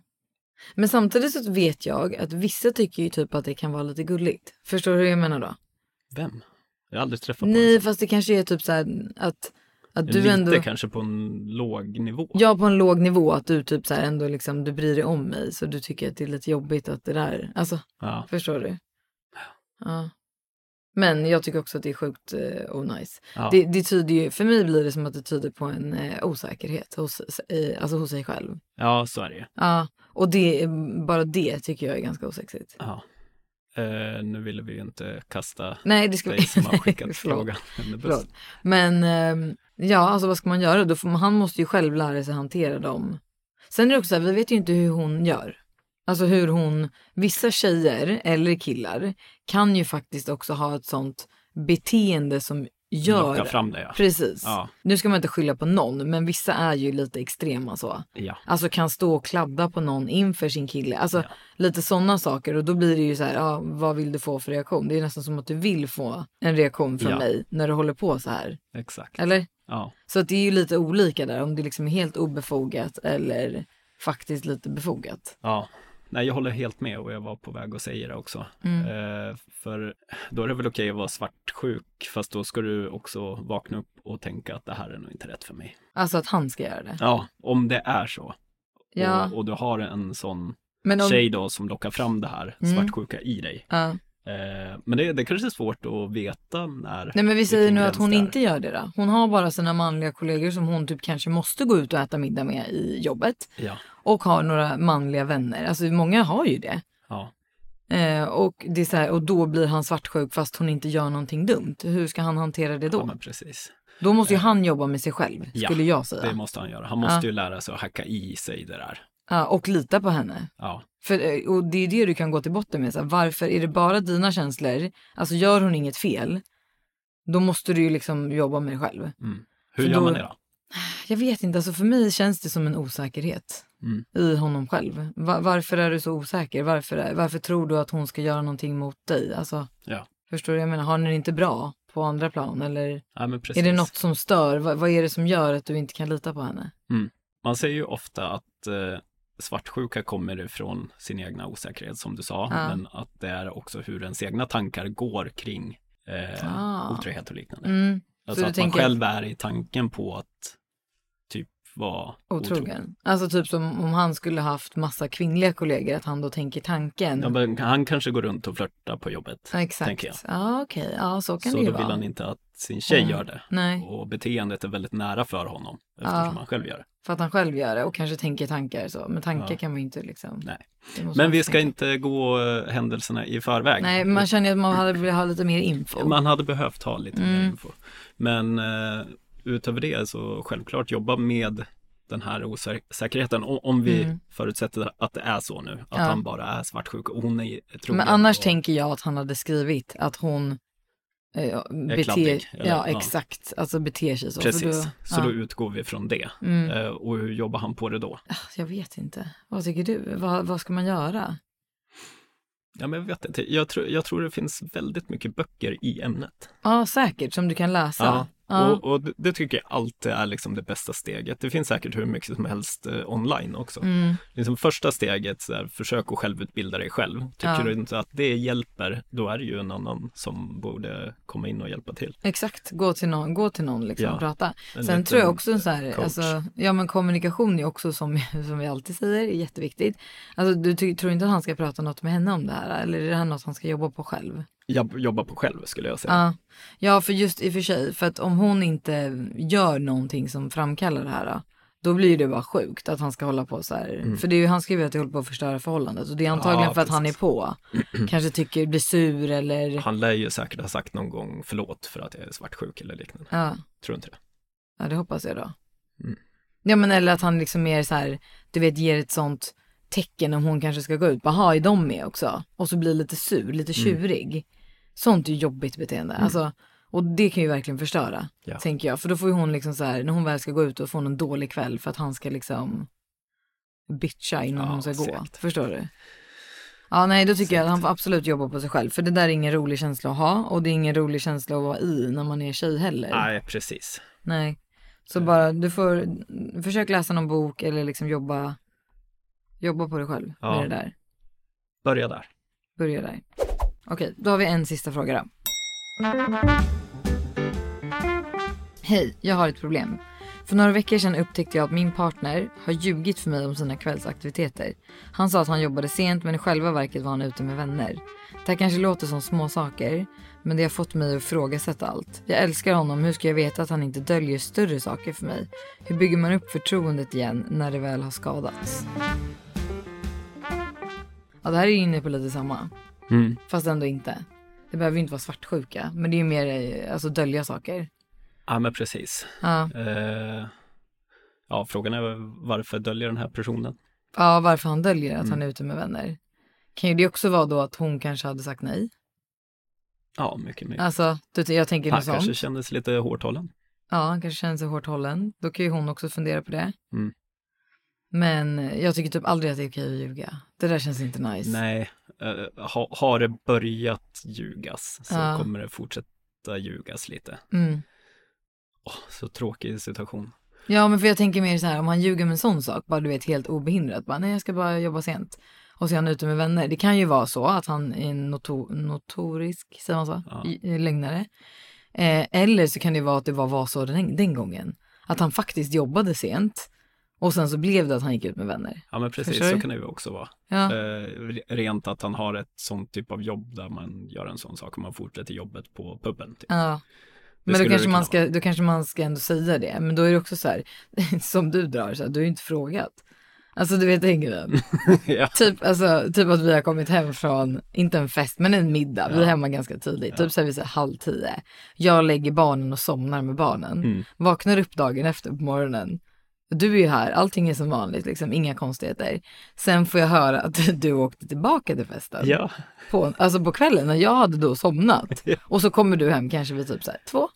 Men samtidigt så vet jag att vissa tycker ju typ att det kan vara lite gulligt. Förstår du hur jag menar då?
vem? Jag har aldrig träffat på en
Nej,
sån.
fast det kanske är typ så här att Att du
Lite
ändå-
kanske på en låg nivå.
Ja, på en låg nivå, att du typ så här ändå liksom, du bryr dig om mig så du tycker att det är lite jobbigt att det där, alltså,
Ja.
förstår du? Ja. Men jag tycker också att det är sjukt eh, onajs.
Ja.
Det, det tyder ju, för mig blir det som att det tyder på en eh, osäkerhet hos, i, alltså hos sig själv.
Ja, så är det ju.
Ja, och det, bara det tycker jag är ganska osexigt.
Ja. Eh, nu ville vi ju inte kasta
Nej, det ska
dig
vi-
som har
nej,
skickat
förlåt.
frågan under
Förlåt.
bussen.
Men ehm, ja, alltså vad ska man göra? Då får man, han måste ju själv lära sig hantera dem. Sen är det också så här, vi vet ju inte hur hon gör. Alltså hur hon, vissa tjejer eller killar kan ju faktiskt också ha ett sånt beteende som gör.
Locka fram det, ja.
Precis.
Ja.
Nu ska man inte skylla på någon, men vissa är ju lite extrema så.
Ja.
Alltså kan stå och kladda på någon inför sin kille. Alltså lite sådana saker. Och då blir det ju så här, ja, vad vill du få för reaktion? Det är nästan som att du vill få en reaktion från
Ja.
mig när du håller på så här.
Exakt.
Eller?
Ja.
Så att det är ju lite olika där, om det liksom är helt obefogat eller faktiskt lite befogat.
Ja, nej jag håller helt med och jag var på väg att säga det också.
Mm.
Eh, för då är det väl okej att vara svartsjuk, fast då ska du också vakna upp och tänka att det här är nog inte rätt för mig.
Alltså att han ska göra det.
Ja, om det är så.
Ja.
Och, och du har en sån
Men om-
tjej då som lockar fram det här
Mm.
svartsjuka i dig.
Ja.
Eh, men det, det kanske är svårt att veta när.
Nej men vi säger
vilken
nu att
gräns
hon
det är.
inte gör det då. Hon har bara sina manliga kollegor som hon typ kanske måste gå ut och äta middag med i jobbet.
Ja.
Och har några manliga vänner. Alltså många har ju det.
Ja.
Eh, och, det är så här, och då blir han svartsjuk fast hon inte gör någonting dumt. Hur ska han hantera det då?
Ja, men precis.
Då måste ju han jobba med sig själv,
Ja,
skulle jag säga.
det måste han göra. Han måste
Ja.
ju lära sig att hacka i sig det där.
Ja, och lita på henne.
Ja,
För, eh, och det är det du kan gå till botten med. Så här, varför är det bara dina känslor? Alltså gör hon inget fel, då måste du ju liksom jobba med dig själv.
Mm. Hur
För
gör
då-
man det då?
Jag vet inte, alltså för mig känns det som en osäkerhet
Mm.
i honom själv. Va- varför är du så osäker? Varför, är, varför tror du att hon ska göra någonting mot dig? Alltså,
Ja.
Förstår du? Jag menar, har ni det inte bra på andra plan? Eller
Ja, men
är det
precis.
något som stör? Va- vad är det som gör att du inte kan lita på henne?
Mm. Man säger ju ofta att eh, svartsjuka kommer ifrån sin egna osäkerhet som du sa,
Ja.
men att det är också hur ens egna tankar går kring eh,
Ah.
otrohet och liknande.
Mm. Så
Alltså
du
att
tänker-
man själv är i tanken på att typ vara
Otrogen.
otrogen.
Alltså typ som om han skulle haft massa kvinnliga kollegor, att han då tänker tanken.
Ja, men han kanske går runt och flörtar på jobbet,
Mm. Ja, Exakt.
tänker jag.
Ja, okej. Ja, så kan
så
det ju
då
vara.
vill han inte att sin tjej
Mm.
gör det.
Nej.
Och beteendet är väldigt nära för honom eftersom
Ja.
han själv gör det.
För att han själv gör det och kanske tänker tankar så. Men tankar
Ja.
kan man ju inte liksom.
Nej.
Det måste
Men
man
vi
inte
ska
tänka.
inte gå eh, händelserna i förväg.
Nej, man känner ju att man hade velat ha lite mer info.
Man hade behövt ha lite mer
Mm.
info. Men eh, utöver det så självklart jobba med den här osäkerheten. Om, om vi
Mm.
förutsätter att det är så nu, att
Ja.
han bara är svartsjuk och hon är trogen.
Men annars
och,
tänker jag att han hade skrivit att hon eh, beter,
kladdig, eller?
ja,
Ja.
exakt, alltså beter sig så.
Precis,
För då,
så
ja.
då utgår vi från det.
Mm.
Eh, och hur jobbar han på det då?
Ah, Jag vet inte. Vad tycker du? Vad, vad ska man göra?
Ja, men jag vet inte. Jag, tror jag tror det finns väldigt mycket böcker i ämnet.
Ja, säkert, som du kan läsa.
Ja.
Ja.
Och, och det- det tycker jag alltid är liksom det bästa steget. Det finns säkert hur mycket som helst eh, online också.
Mm.
Liksom första steget, så här, försök att självutbilda dig själv. Tycker
Ja.
du inte att det hjälper, då är det ju en annan som borde komma in och hjälpa till.
Exakt, gå till någon, gå till någon liksom
Ja.
och prata.
En
Sen
liten
tror jag också så här,
coach.
alltså, ja men kommunikation är också som, som vi alltid säger, är jätteviktigt. Alltså du ty- tror inte att han ska prata något med henne om det här? Eller är det här något han ska jobba på själv?
Jobb, jobba på själv skulle jag säga.
Ja, ja för just i och för sig, för att om hon inte gör någonting som framkallar det här då, då blir det bara sjukt att han ska hålla på så här. För det är ju, han skriver att jag håller på att förstöra förhållandet och det är antagligen
Mm. Ja,
för att han är
precis.
på. Kanske tycker, blir sur eller,
Han lär ju säkert ha sagt någon gång förlåt för att jag är svartsjuk eller liknande.
ja,
Tror du inte det?
ja det hoppas jag då.
Mm.
Ja men eller att han liksom mer så här, du vet ger ett sånt tecken om hon kanske ska gå ut, bara ha är de med också? Och så blir lite sur, lite
Mm.
tjurig. Sånt är ju jobbigt beteende. Alltså, och det kan ju verkligen förstöra,
Ja.
tänker jag. För då får ju hon liksom så här, när hon väl ska gå ut och får hon en dålig kväll för att han ska liksom bitcha innan
Ja,
hon ska gå.
säkert.
Förstår du? Ja, nej, då tycker jag att han får absolut jobba på sig själv. För det där är ingen rolig känsla att ha och det är ingen rolig känsla att vara i när man är tjej heller.
Nej, precis.
Nej. Så bara, du får, försök läsa någon bok eller liksom jobba, jobba på dig själv
Ja.
med det där.
Börja där.
Börja där. Okej, då har vi en sista fråga då. Hej, jag har ett problem. För några veckor sedan upptäckte jag att min partner har ljugit för mig om sina kvällsaktiviteter. Han sa att han jobbade sent men i själva verket var han ute med vänner. Det här kanske låter som små saker, men det har fått mig att ifrågasätta allt. Jag älskar honom, hur ska jag veta att han inte döljer större saker för mig? Hur bygger man upp förtroendet igen när det väl har skadats? Ja, det här är ju inne på lite samma.
Mm.
Fast ändå inte. Det behöver ju inte vara svartsjuka, men det är ju mer eh, alltså, dölja saker.
Ja, men precis.
Ja.
Eh, ja, frågan är varför döljer den här personen?
Ja, varför han döljer att
Mm.
han är ute med vänner. Kan ju det också vara då att hon kanske hade sagt nej?
Ja, mycket mer.
Alltså, du, jag tänker
han
något
kanske
sånt.
kändes lite hårtalad.
Ja, han kanske känner sig hårt hållen. Då kan ju hon också fundera på det.
Mm.
Men jag tycker typ aldrig att det är okej att ljuga. Det där känns inte nice.
Nej, eh, ha, har det börjat ljugas så
Ja.
kommer det fortsätta ljugas lite.
Mm.
Åh, så tråkig situation.
Ja, men för jag tänker mer så här om han ljuger med en sån sak, bara du vet helt obehindrat, bara nej jag ska bara jobba sent. Och så är han ute med vänner. Det kan ju vara så att han är en noto- notorisk, säger man så,
Ja.
I- lögnare. Eh, eller så kan det vara att det bara var så den, den gången. Att han faktiskt jobbade sent och sen så blev det att han gick ut med vänner.
Ja, men precis,
Förstår
så
du?
kan det ju också vara.
Ja.
Eh, re- rent att han har ett sånt typ av jobb där man gör en sån sak och man fortsätter jobbet på puben. Typ.
Ja.
Det
Men
skulle
då
det
kanske,
kunna
man ska, då kanske man ska ändå säga det. Men då är det också så här, som du drar, så här, du har ju inte frågat. Alltså du vet, tänker du?
ja.
Typ, alltså, typ att vi har kommit hem från, inte en fest, men en middag. Vi är hemma ganska tidigt. Typ så här, vi säger halv tio. Jag lägger barnen och somnar med barnen.
Mm.
Vaknar upp dagen efter på morgonen. Du är ju här, allting är som vanligt, liksom, inga konstigheter. Sen får jag höra att du åkte tillbaka till festen.
ja,
På, alltså på kvällen, när jag hade då somnat.
Ja.
Och så kommer du hem kanske vid typ så här, två.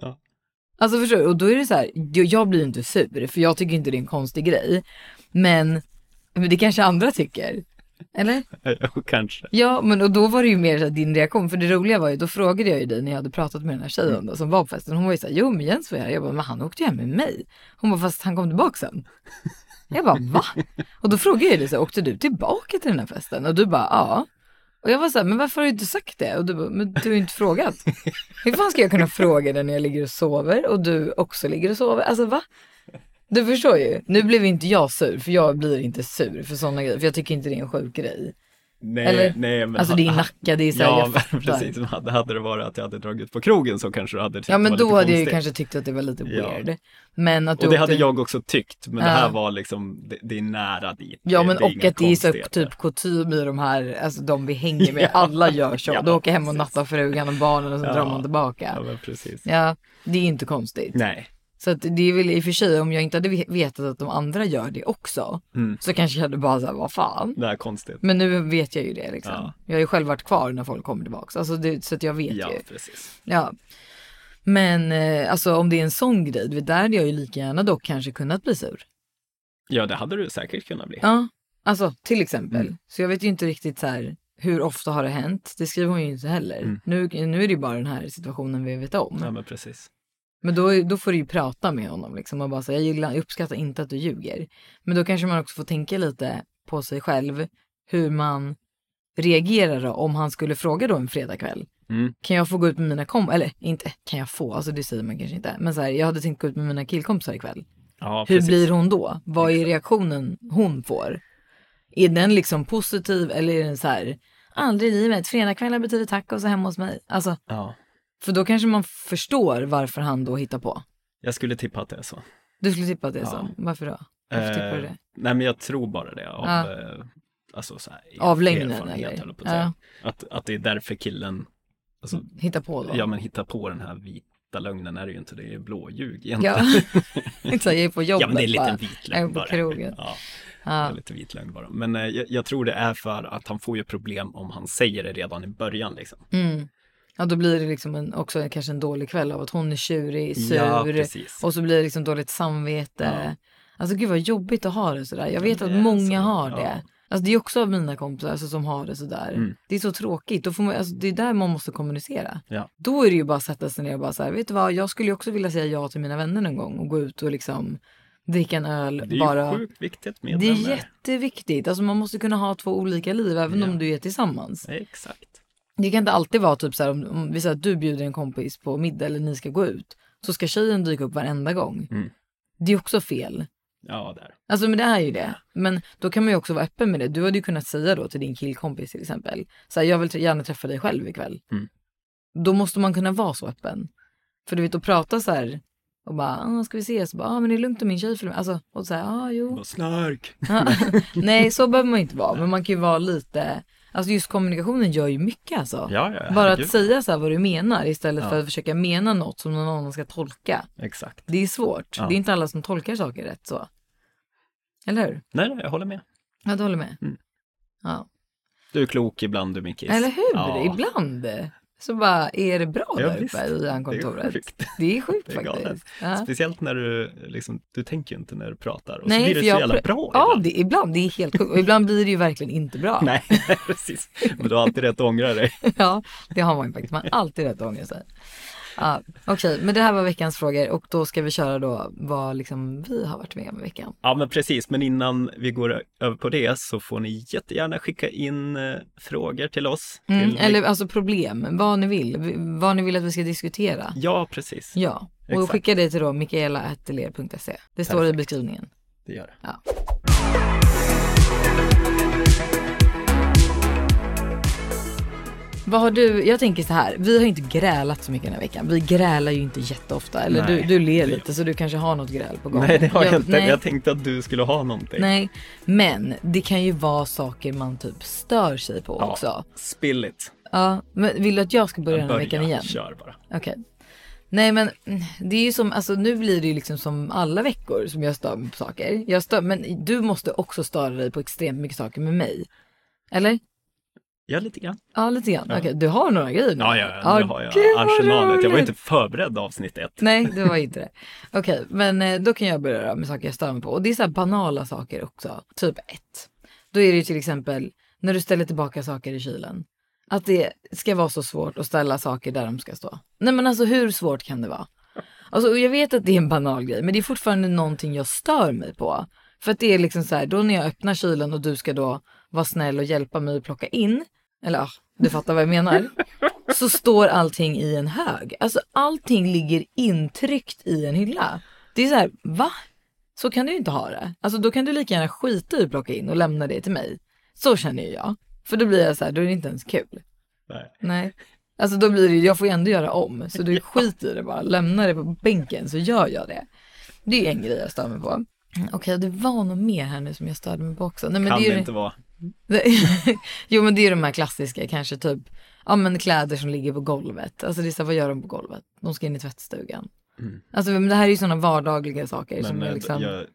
ja.
Alltså förstår du? Och då är det så här, jag, jag blir ju inte sur för jag tycker inte det är en konstig grej. Men, men det kanske andra tycker. Eller?
kanske.
Ja, men och då var det ju mer så här, din reaktion. För det roliga var ju, då frågade jag ju dig när jag hade pratat med den här tjejen då, som var på festen. Hon var ju så här, jo men Jens var här. Jag bara, men han åkte ju hem med mig. Hon bara, fast han kom tillbaka sen. Jag bara, va? Och då frågade jag dig så här, åkte du tillbaka till den här festen? Och du bara, ja. Och jag var så här, men varför har du inte sagt det? Och du bara, men du har ju inte frågat. Hur fan ska jag kunna fråga dig när jag ligger och sover och du också ligger och sover? Alltså va? Du förstår ju. Nu blev inte jag sur, för jag blir inte sur för sådana grejer. För jag tycker inte det är en sjuk grej.
Nej,
Eller?
nej, men
alltså
ha-
det är Nacka, det är såhär,
Ja,
jag
men
fattar.
precis. Men Hade, hade det varit att jag hade dragit på krogen så kanske du hade tyckt
Ja
det
men
var
då
lite
hade jag ju
konstigt.
kanske tyckt att det var lite
Ja.
weird. Men att du
Och det
åkte-
hade jag också tyckt, men det
Ja.
här var liksom, det, det är nära dit.
Ja men
det är
och
inga
att det är så
konstigheter.
typ kutym i de här, alltså de vi hänger med, alla gör så.
Ja,
Då åker jag hem och nattar frugan och barnen och så
Ja.
drar man tillbaka.
Ja, Mm. men precis.
Ja, det är inte konstigt.
Nej,
Så att det är väl i och för sig, om jag inte hade ve- vetat att de andra gör det också,
Mm.
så kanske jag hade bara såhär, vad fan.
det är konstigt.
Men nu vet jag ju det liksom.
Ja.
Jag har ju själv varit kvar när folk kommer tillbaka, alltså det, så att jag vet
Ja,
ju.
precis.
Ja. Men eh, alltså om det är en sån grej, du vet, där hade jag ju lika gärna dock kanske kunnat bli sur.
Ja, det hade du säkert kunnat bli.
Ja, alltså till exempel. Så jag vet ju inte riktigt så här, hur ofta har det hänt? Det skriver hon ju inte heller. Nu, nu är det ju bara den här situationen vi vet om.
Ja, men precis.
Men då, är- då får du ju prata med honom liksom och bara säga jag, gillar- jag uppskattar inte att du ljuger. Men då kanske man också får tänka lite på sig själv hur man reagerar då, om han skulle fråga då en fredagkväll.
Mm.
Kan jag få gå ut med mina kompisar? Eller inte kan jag få, alltså det säger man kanske inte. Men så här, jag hade tänkt gå ut med mina killkompisar ikväll.
Ja,
Hur
precis.
blir hon då? Vad är reaktionen hon får? Är den liksom positiv eller är den så här, aldrig i livet, fredagkvällar betyder tacos hemma hos mig. Alltså,
Ja,
för då kanske man förstår varför han då hittar på.
jag skulle tippa att det är så.
Du skulle tippa att det är
Ja. Eh,
så? Varför då? Varför tippar du det?
Nej, men jag tror bara det av,
Ja.
eh, alltså så här,
Av lögnen,
erfarenhet,
eller?
höll jag på att, säga. Att, att det är därför killen, alltså,
Hitta på då?
ja men hitta på den här vita lögnen är det ju inte, det är ju blåljug egentligen.
Ja. Inte så här, jag är på jobbet
Ja, men det är lite
bara.
en vit
Jag är
lögn
på
bara.
krogen.
Ja,
Ja.
det är lite vit lögn bara. Men eh, jag, jag tror det är för att han får ju problem om han säger det redan i början liksom.
Mm. Ja, då blir det liksom en, också en- kanske en dålig kväll av att hon är tjurig, sur
Ja, precis.
och så blir det liksom dåligt samvete. Alltså gud vad jobbigt att ha det sådär. Jag vet
det
att
är
många
så,
har
ja. Mm.
det. Alltså det är också av mina kompisar alltså, som har det sådär. Det är så tråkigt. Då får man, alltså, det är där man måste kommunicera.
Ja.
Då är det ju bara att sätta sig ner och bara såhär, vet du vad, jag skulle ju också vilja säga ja till mina vänner någon gång och gå ut och liksom dricka en öl.
Det är
bara...
ju sjukt viktigt med
Det är
vänner.
jätteviktigt. Alltså man måste kunna ha två olika liv även om du är tillsammans.
Exakt.
Det kan inte alltid vara typ så här om, om vi säger att du bjuder en kompis på middag eller ni ska gå ut. så ska tjejen dyka upp varenda gång.
Mm.
Det är också fel.
Ja, där.
Alltså men det är ju det. Men då kan man ju också vara öppen med det. Du hade ju kunnat säga då till din killkompis till exempel. Så här, jag vill tr- gärna träffa dig själv ikväll.
Mm.
Då måste man kunna vara så öppen. För du vet att prata så här och bara, ah, ska vi ses? Och bara, ah, men det är lugnt om min tjej följer med. Alltså, och så här, ah, jo.
Vad snark.
Ja. Nej, så behöver man ju inte vara. Men man kan ju vara lite, alltså just kommunikationen gör ju mycket alltså.
Ja, ja,
Bara att
herregud.
säga så här vad du menar istället
Ja.
för att försöka mena något som någon annan ska tolka.
Exakt.
Det är svårt.
Ja.
Det är inte alla som tolkar saker rätt så. Eller hur?
Nej, nej, jag håller med.
Ja, du håller med.
Mm.
Ja.
Du är klok ibland du, Mickis.
Eller hur?
Ja.
Ibland så bara är det bra
Ja,
där
visst.
uppe i
Det är
ankontoret.
sjukt.
Det är sjukt
Det är galet.
faktiskt. Ja.
Speciellt när du, liksom, du tänker ju inte när du pratar och
Nej,
så blir det
för
så
jag
jävla
pr-
bra
Ja,
ibland.
det, ibland. Det är helt sjukt. Och ibland blir det ju verkligen inte bra.
Nej, precis. Men du har alltid rätt att ångra dig.
Ja, det har man ju faktiskt. Man har alltid rätt att ångra sig. Ja, Okej, men det här var veckans frågor och då ska vi köra då vad liksom vi har varit med om i veckan.
Ja, men precis. Men innan vi går över på det så får ni jättegärna skicka in eh, frågor till oss.
Mm,
till
eller alltså problem, vad ni vill, vad ni vill att vi ska diskutera.
Ja, precis.
Ja, och
Exakt.
skicka det till då mikaela.atelier.se. Det står i
Perfekt.
beskrivningen.
Det gör det.
Ja. Vad har du, jag tänker så här, vi har ju inte grälat så mycket den här veckan. Vi grälar ju inte jätteofta. Eller
Nej,
du, du ler
det gör
lite så du kanske har något gräl på gång.
Nej, det har jag, inte.
Nej,
Jag tänkte att du skulle ha någonting.
nej, men det kan ju vara saker man typ stör sig på
Ja,
också.
spill it.
Ja, men vill du att jag ska börja den här
Börja,
veckan igen?
kör bara.
Okej. Nej men mm, det är ju som, alltså nu blir det ju liksom som alla veckor som jag stör mig på saker. Jag stör, men du måste också störa dig på extremt mycket saker med mig. Eller?
Ja, lite grann.
Ja lite grann. Okej, du har några grejer nu?
Ja, ja, ja. Nu
Ah,
har jag
gud, vad
arsenalet. Jag var
roligt.
inte förberedd avsnitt ett.
Nej, det var inte det. Okej, men eh, då kan jag börja då med saker jag stör mig på. Och det är så här banala saker också. Typ ett. Då är det ju till exempel när du ställer tillbaka saker i kylen. Att det ska vara så svårt att ställa saker där de ska stå. Nej men alltså hur svårt kan det vara? Alltså, och jag vet att det är en banal grej, men det är fortfarande någonting jag stör mig på. För att det är liksom så här, då när jag öppnar kylen och du ska då vara snäll och hjälpa mig att plocka in, eller ja, du fattar vad jag menar, så står allting i en hög. Alltså allting ligger intryckt i en hylla. Det är så här, va? Så kan du ju inte ha det. Alltså då kan du lika gärna skita i att plocka in och lämna det till mig. Så känner ju jag. För då blir jag så här, då är det inte ens kul.
Nej.
Nej. Alltså då blir det ju- jag får ju ändå göra om. Så du skiter i det bara, lämnar det på bänken så gör jag det. Det är en grej jag stör mig på. Okej, det var något mer här nu som jag störde mig på också. Nej, men
kan
det, är ju-
det inte vara.
jo men det är de här klassiska kanske typ, ja men kläder som ligger på golvet. Alltså det är så här, vad gör de på golvet? De ska in i tvättstugan. Alltså men det här är ju sådana vardagliga saker som
Mm. Men
är
eh,
liksom,
jag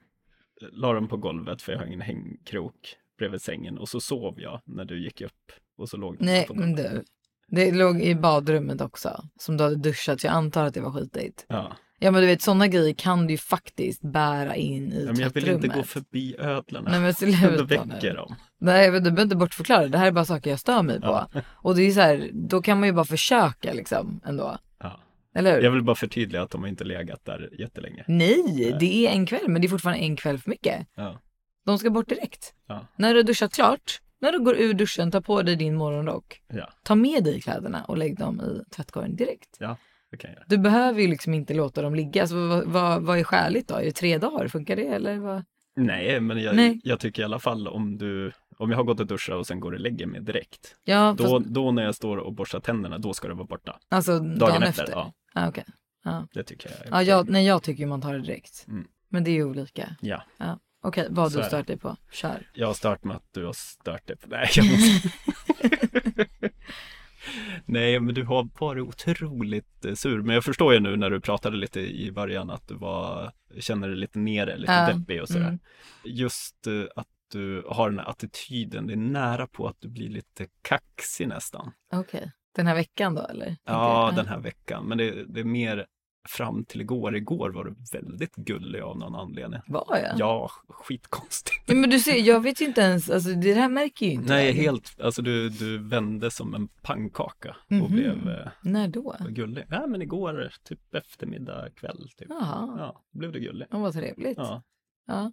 la dem på golvet för jag har ingen hängkrok bredvid sängen och så sov jag när du gick upp och så låg de
nej
på
men
golvet.
du. Det låg i badrummet också, som du hade duschat, så jag antar att det var skitigt.
Ja.
Ja men du vet sådana grejer kan du ju faktiskt bära in i
Ja, Men jag vill
tvättrummet.
inte gå förbi ödlorna.
Nej, men sluta
Då
nu.
väcker de.
Nej, men du behöver inte bortförklara. Det. Det här är bara saker jag stör mig på. Och det är ju så här, då kan man ju bara försöka liksom ändå.
Ja.
Eller hur?
Jag vill bara förtydliga att de har inte legat där jättelänge.
Nej, det är en kväll, men det är fortfarande en kväll för mycket.
Ja.
De ska bort direkt.
Ja.
När du har duschat klart, när du går ur duschen, ta på dig din morgonrock.
Ja.
Ta med dig kläderna och lägg dem i tvättkorgen direkt.
ja, det kan jag göra.
Du behöver ju liksom inte låta dem ligga. Så vad, vad, vad är skäligt då? Är det tre dagar? Funkar det eller? Vad?
Nej, men jag,
Nej.
jag tycker i alla fall om du, om jag har gått och duschat och sen går och lägger mig direkt.
Ja, fast,
Då, då när jag står och borstar tänderna, då ska det vara borta.
alltså dagen,
Dagen
efter.
efter, ja.
Ah, okay. ja.
Det tycker jag. är
Ja,
okej.
jag, nej, jag tycker ju man tar det direkt.
Mm.
Men det är ju olika.
ja.
Ja. Okej, vad har
Så är
du
det.
stört dig på? Kör.
Jag har stört mig att du har stört dig på... Nej, jag måste... Nej, men du har varit otroligt eh, sur. Men jag förstår ju nu när du pratade lite i början att du var, känner dig lite nere, lite
Ja,
deppig och sådär. Just eh, att du har den här attityden, det är nära på att du blir lite kaxig nästan.
Okej. Den här veckan då eller? Tänker
Ja,
jag.
den här veckan. Men det, det är mer fram till igår. Igår var du väldigt gullig av någon anledning.
Var jag?
Ja, skitkonstigt.
Ja, men du ser, jag vet ju inte ens, alltså det här märker ju inte
Nej,
jag.
helt, alltså du, du vände som en pannkaka
Mhm.
och blev eh,
När då?
gullig. Ja, men igår, typ eftermiddag, kväll, typ.
Jaha,
Ja, då blev du gullig.
ja. vad trevligt. Ja.
Ja.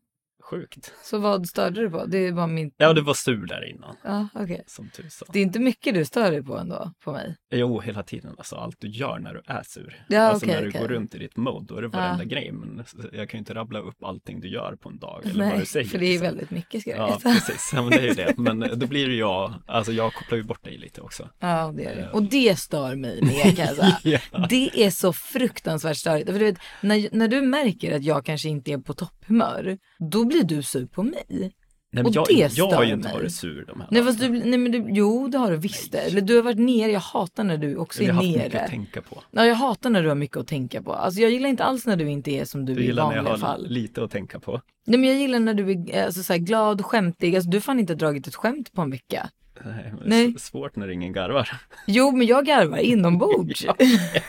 Sjukt.
Så vad störde du på? Det var min...
Ja, du var sur där innan.
Ja, okej.
Som tusan.
Det är inte mycket du stör dig på ändå, på mig.
Jo, hela tiden. Alltså allt du gör när du är sur.
Ja,
alltså
okej,
när du
okej.
går runt i ditt mode, då är det
Ja.
varenda grej. Men jag kan ju inte rabbla upp allting du gör på en dag eller vad
Nej,
du säger.
för det är ju
liksom.
väldigt mycket ska jag
Ja,
veta.
precis. Ja, men det är ju det. Men eh, då blir det jag, alltså jag kopplar ju bort dig lite också.
Ja, det gör det. Och det stör mig mer kan jag säga. Det är så fruktansvärt störigt. För du vet, när, när du märker att jag kanske inte är på topphumör, då blir du sur på mig.
Nej, men
och
jag,
det
jag har ju
stör
inte
mig.
varit sur de här
Nej, fast du, nej men du, jo det har du visst det. Eller Du har varit nere, jag hatar när du också
Vi
är
har haft
nere.
mycket att tänka på.
Ja, jag hatar när du har mycket att tänka på. Alltså jag gillar inte alls när du inte är som du,
Du
är i
gillar när
vanliga
jag har
fall.
lite att tänka på.
Nej men jag gillar när du är eh, alltså, så här, glad, skämtig. Alltså du har fan inte dragit ett skämt på en vecka.
Nej, men
Nej.
s- Svårt när ingen garvar.
Jo, men jag garvar inombords.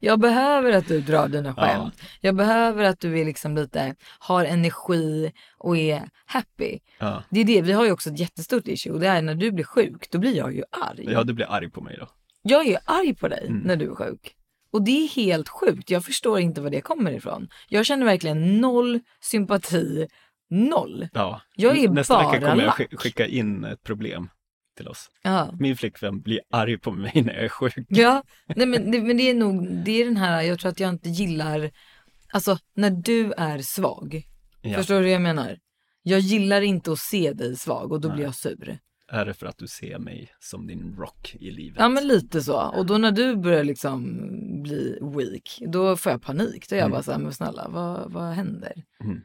jag behöver att du drar dina
Ja.
skämt. Jag behöver att du är liksom lite, har energi och är happy.
Ja.
Det är det, vi har ju också ett jättestort issue och det är när du blir sjuk, då blir jag ju arg.
ja, du blir arg på mig då.
Jag är ju arg på dig
Mm.
när du är sjuk. Och det är helt sjukt, jag förstår inte var det kommer ifrån. Jag känner verkligen noll sympati, noll.
Ja.
Jag är
Nästa
bara
vecka kommer jag
lack.
sk- skicka in ett problem till oss.
Ja.
Min flickvän blir arg på mig när jag är sjuk.
Ja, nej men, det, men det är nog, det är den här, jag tror att jag inte gillar, alltså när du är svag.
Ja.
Förstår du vad jag menar? Jag gillar inte att se dig svag och då blir jag sur.
Är det för att du ser mig som din rock i livet?
Ja men lite så. Och då när du börjar liksom bli weak, då får jag panik. Då är jag
Mm.
bara så här, men snälla vad, vad händer?
Mm.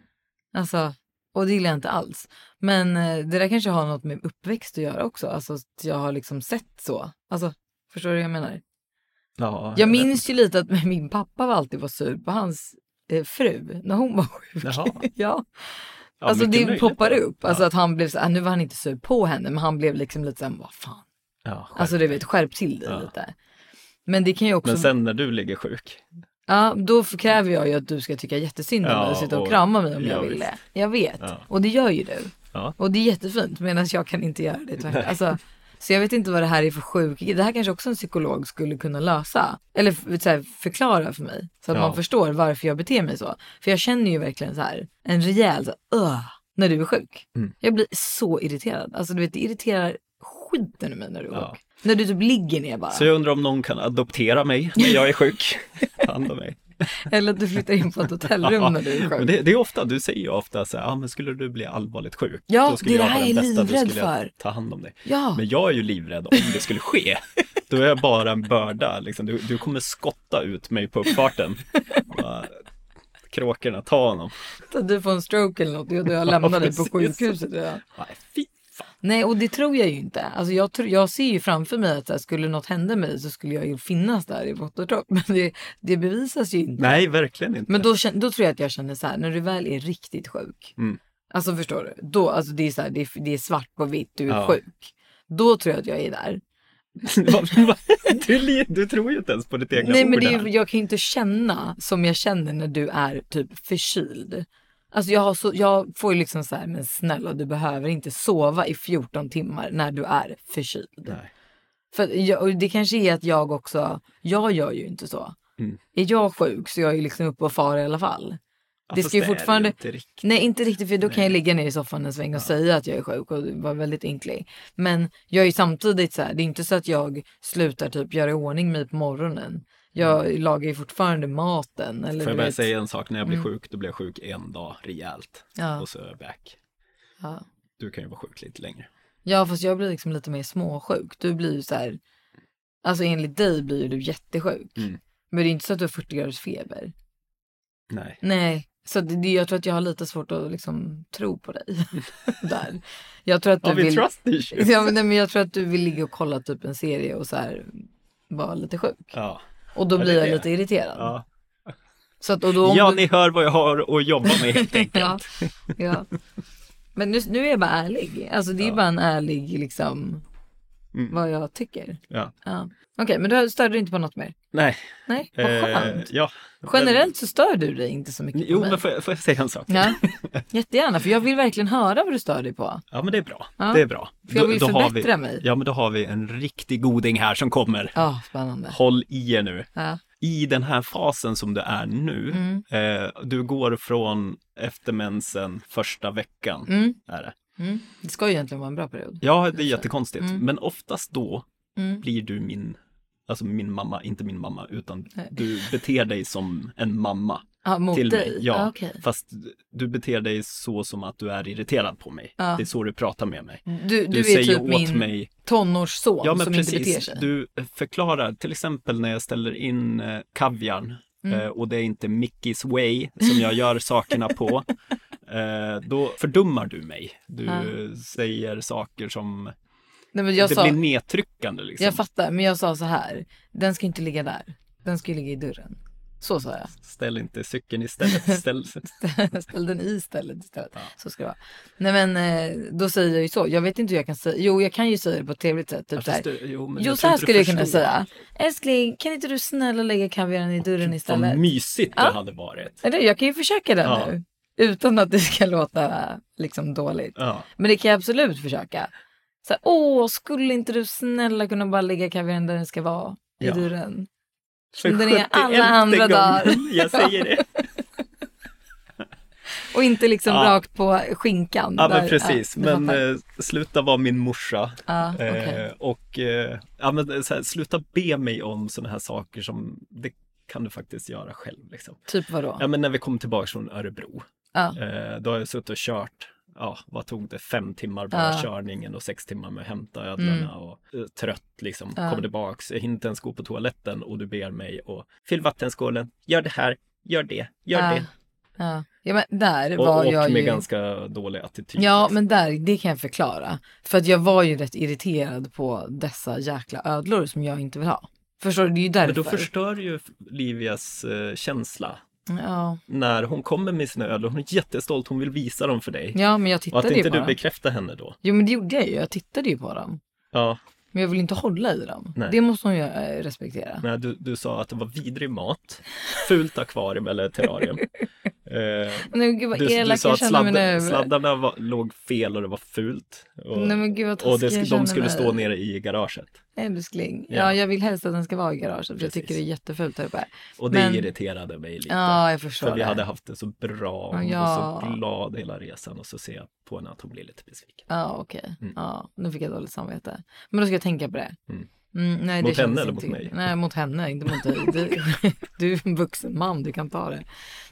Alltså, och det gillar jag inte alls. Men eh, det där kanske har något med uppväxt att göra också. Alltså att jag har liksom sett så. Alltså, förstår du vad jag menar?
Ja,
Jag minns ju lite att min pappa var alltid var sur på hans eh, fru när hon var sjuk.
Jaha.
ja.
Ja,
alltså
mycket
det
möjligt
poppar
då.
upp. Alltså
Ja.
att han blev så här, nu var han inte sur på henne, men han blev liksom lite såhär, vad fan.
Ja, skärp
Alltså du
dig.
vet, skärp till dig
Ja.
lite. Men det kan ju också,
Men sen när du ligger sjuk,
ja, då f- kräver jag ju att du ska tycka jättesynd om
Ja,
mig och sitta och
och-
krama mig om
ja,
jag vill det.
visst.
Jag vet,
Ja.
och det gör ju du.
Ja.
Och det är jättefint, medan jag kan inte göra det tvärtom. Alltså, så jag vet inte vad det här är för sjuk, det här kanske också en psykolog skulle kunna lösa. Eller f- så här, förklara för mig, så att
Ja.
man förstår varför jag beter mig så. För jag känner ju verkligen så här, en rejäl så här, "Ugh", när du är sjuk.
Mm.
Jag blir så irriterad. Alltså du vet, det irriterar skiten ur mig när du är
Ja.
sjuk. När du typ ligger ner bara.
så jag undrar om någon kan adoptera mig när jag är sjuk. Ta hand om mig.
Eller att du flyttar in på ett hotellrum när du är
Men
sjuk.
det, det är ofta, du säger ju ofta så här, ah, men skulle du bli allvarligt sjuk,
Ja,
då skulle
det
jag
här
vara
är
den bästa, då
livrädd
skulle
för.
jag ta hand om dig.
Ja.
Men jag är ju livrädd om det skulle ske. Då är jag bara en börda, liksom. du, du kommer skotta ut mig på uppfarten. Bara, Kråkorna, ta honom.
Att du får en stroke eller något och jag lämnar dig på
precis.
sjukhuset. Ja.
Nej, fy fan.
Nej, och det tror jag ju inte. Alltså jag, tror, jag ser ju framför mig att så här, skulle något hända med dig så skulle jag ju finnas där i vått och torrt. Men det, det bevisas ju inte.
Nej, verkligen inte.
Men då, kän- då tror jag att jag känner så här, när du väl är riktigt sjuk.
Mm.
Alltså förstår du? Då, alltså det, är så här, det, är, det är svart på vitt, du är
Ja.
sjuk. Då tror jag att jag är där.
du, li- du tror ju inte ens på ditt egna
Nej
ord
men det är,
här.
ju- jag kan ju inte känna som jag känner när du är typ förkyld. Alltså jag, har så, jag får ju liksom så här, men snälla du behöver inte sova i 14 timmar när du är förkyld.
Nej.
För jag, och det kanske är att jag också, jag gör ju inte så.
Mm.
Är jag sjuk så jag är ju liksom uppe och far i alla fall.
Ja,
Det
fast
ska ju
Alltså, är ju
fortfarande...
inte riktigt.
Nej inte riktigt för då kan jag ligga ner i soffan en sväng och säga att jag är sjuk och vara väldigt ynklig. Men jag är ju samtidigt så här, det är inte så att jag slutar typ göra i ordning mig på morgonen. Jag lagar ju fortfarande maten. Eller
Mm. Får jag
du
bara
vet-
säga en sak, när jag blir
Mm.
sjuk, då blir jag sjuk en dag rejält.
Ja.
Och så är jag back.
Ja.
Du kan ju vara sjuk lite längre.
ja fast jag blir liksom lite mer småsjuk. Du blir ju så här, alltså enligt dig blir ju du jättesjuk.
Mm.
Men det är inte så att du har 40 graders feber.
Nej.
Nej, så det, det- jag tror att jag har lite svårt att liksom tro på dig. Där. Jag tror att du
Har vi
vill...
trust issues?
Ja, men, nej, men jag tror att du vill ligga och kolla typ en serie och så här vara lite sjuk.
Ja.
Och då
Ja, det
blir
är
jag
det.
lite irriterad.
Ja.
Så att, och då, om
ja,
du-
ni hör vad jag har att jobba med helt enkelt.
ja, ja. Men nu, nu är jag bara ärlig. Alltså det är bara en ärlig liksom
Mm.
vad jag tycker.
Ja.
Ja. Okej, men då störde du inte på något mer?
Nej. eh,
Nej, vad skönt.
ja.
Generellt så stör du dig inte så mycket
Men,
på
jo,
mig.
men får jag, får jag säga en sak?
Ja, jättegärna, för jag vill verkligen höra vad du stör dig på.
Ja, men det är bra.
Ja.
Det är bra.
För jag vill
har
förbättra
vi,
mig.
Ja, men då har vi en riktig goding här som kommer.
Ja, spännande.
Håll i er nu.
Ja.
i den här fasen som du är nu,
Mm.
eh, du går från efter mensen första veckan.
Mm.
Är det.
Mm. Det ska ju egentligen vara en bra period.
Ja, det är jättekonstigt,
Mm.
men oftast då
Mm.
blir du min, alltså min mamma, inte min mamma, utan
Nej.
du beter dig som en mamma.
Ja, mot
till
dig?
mig. Ja,
Ah, okej.
fast du beter dig så som att du är irriterad på mig.
Ja.
Det är så du pratar med mig.
Du, du, är
säger
typ
åt
min
mig-
tonårsson
Ja, men
som
precis.
inte beter sig.
Du eh, förklarar, till exempel när jag ställer in eh, kaviarn
Mm.
eh, och det är inte Mickys way som jag gör sakerna på, eh, då fördummar du mig. Du
Ja.
säger saker som,
Nej, men jag,
det
sa,
blir nedtryckande liksom.
jag fattar, men jag sa så här. Den ska inte ligga där. Den ska ju ligga i dörren. Så sa jag.
Ställ inte cykeln istället. Ställ...
Ställ den i stället istället. Så ska det vara. Nej men eh, då säger jag ju så. Jag vet inte hur jag kan säga. Jo jag kan ju säga det på ett trevligt sätt. Typ
Ja,
så
fast
här.
du- jo, men
jo
jag
så
tror
här
inte du
skulle jag kunna
förstår.
säga. Älskling kan inte du snälla lägga kaviaren i dörren istället?
Vad mysigt det
Ja.
hade varit.
Eller jag kan ju försöka det
Ja.
nu. Utan att det ska låta liksom dåligt.
Ja.
Men det kan jag absolut försöka. Så här, Åh, skulle inte du snälla kunna bara lägga kaviaren där den ska vara? I
Ja.
dörren.
För
Den är alla
71:e
andra
gången
dagar.
Jag säger det.
Och inte liksom
Ja.
rakt på skinkan.
Ja,
där-
men precis.
ja, du
men
fattar.
eh, sluta vara min morsa.
Ja, okej.
Eh, och eh, ja, men, så här, sluta be mig om sådana här saker som det kan du faktiskt göra själv. Liksom.
Typ vadå?
Ja, men när vi kom tillbaka från Örebro,
Ja.
eh, då har jag suttit och kört, ja, vad tog det, fem timmar bara
Ja. Mm.
körningen och sex timmar med att hämta ödlorna och eh, trött liksom,
Ja.
kommer tillbaks, jag hinner inte ens gå på toaletten och du ber mig och fyll vattenskålen, gör det här, gör det, gör
Ja,
det.
Ja, ja men där
Och,
var
och
jag
med
ju...
ganska dålig attityd.
Ja,
liksom.
men där, det kan jag förklara. För att jag var ju rätt irriterad på dessa jäkla ödlor som jag inte vill ha. Förstår du? Det är ju därför.
Men då förstör ju Livias eh, känsla.
ja.
När hon kommer med sina ödlor, hon är jättestolt, hon vill visa dem för dig.
ja, men jag
och att
tittade ju
inte
på
du
dem.
bekräftar henne då.
Jo, men det gjorde jag ju. Jag tittade ju på dem.
Ja,
Men jag vill inte hålla i dem.
Nej.
Det måste hon ju eh, respektera.
men du, du sa att det var vidrig mat, fult akvarium eller terrarium. Eh,
Nej, men gud vad
du, du
elak
sa
jag
att
känner mig
sladd,
nu.
sladdarna var, låg fel och det var fult. Och,
Nej, men gud vad
och
taskig
det,
jag
sk-
känner
de skulle
mig.
stå nere i garaget.
Älskling. Ja.
Ja.
jag vill helst att den ska vara i garaget. För jag tycker det är jättefult här uppe.
Och det
Men-
irriterade mig lite.
Ja, jag förstår
För vi
det.
hade haft det så bra, hon
Ja.
var så glad hela resan och så ser jag på henne att hon blir lite besviken.
Ja, okej. Ja, nu fick jag dåligt samvete. Men då ska jag tänka på det.
Mm.
Mm, nej,
Mot
det kändes
henne eller
inte-
mot mig?
Nej, mot henne, inte mot dig. Du, du är en vuxen man, du kan ta det.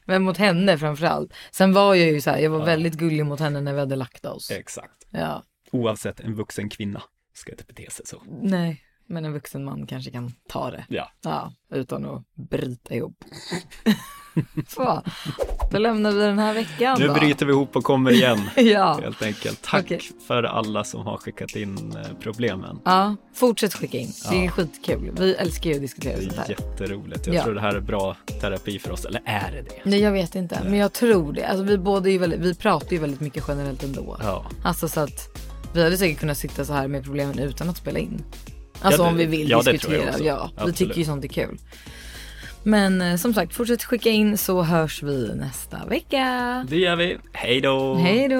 Men mot henne framförallt. Sen var jag ju så här, jag var väldigt gullig mot henne när vi hade lagt oss.
Exakt.
Ja,
oavsett en vuxen kvinna ska inte bete sig så.
nej, men en vuxen man kanske kan ta det.
Ja.
Ja, utan att bryta ihop. så, då lämnar vi den här veckan
Nu
då.
bryter vi ihop och kommer igen.
Ja.
Helt enkelt. Tack
Okej.
för alla som har skickat in eh, problemen.
Ja, fortsätt skicka in. Det är skitkul. Vi älskar ju att diskutera sånt
Det är
här.
jätteroligt. Jag
Ja.
tror det här är bra terapi för oss, eller är det det?
Nej jag vet inte, men jag tror det. Alltså, vi, båda är ju väldigt, vi pratar ju väldigt mycket generellt ändå.
Ja.
Alltså så att vi hade säkert kunnat sitta så här med problemen utan att spela in. Alltså
Ja, det-
om vi vill
ja, det tror jag
diskutera.
också.
Ja, vi
Absolut.
tycker ju sånt är kul. Men eh, som sagt, fortsätt skicka in så hörs vi nästa vecka.
Det gör vi. Hej då!
Hej då!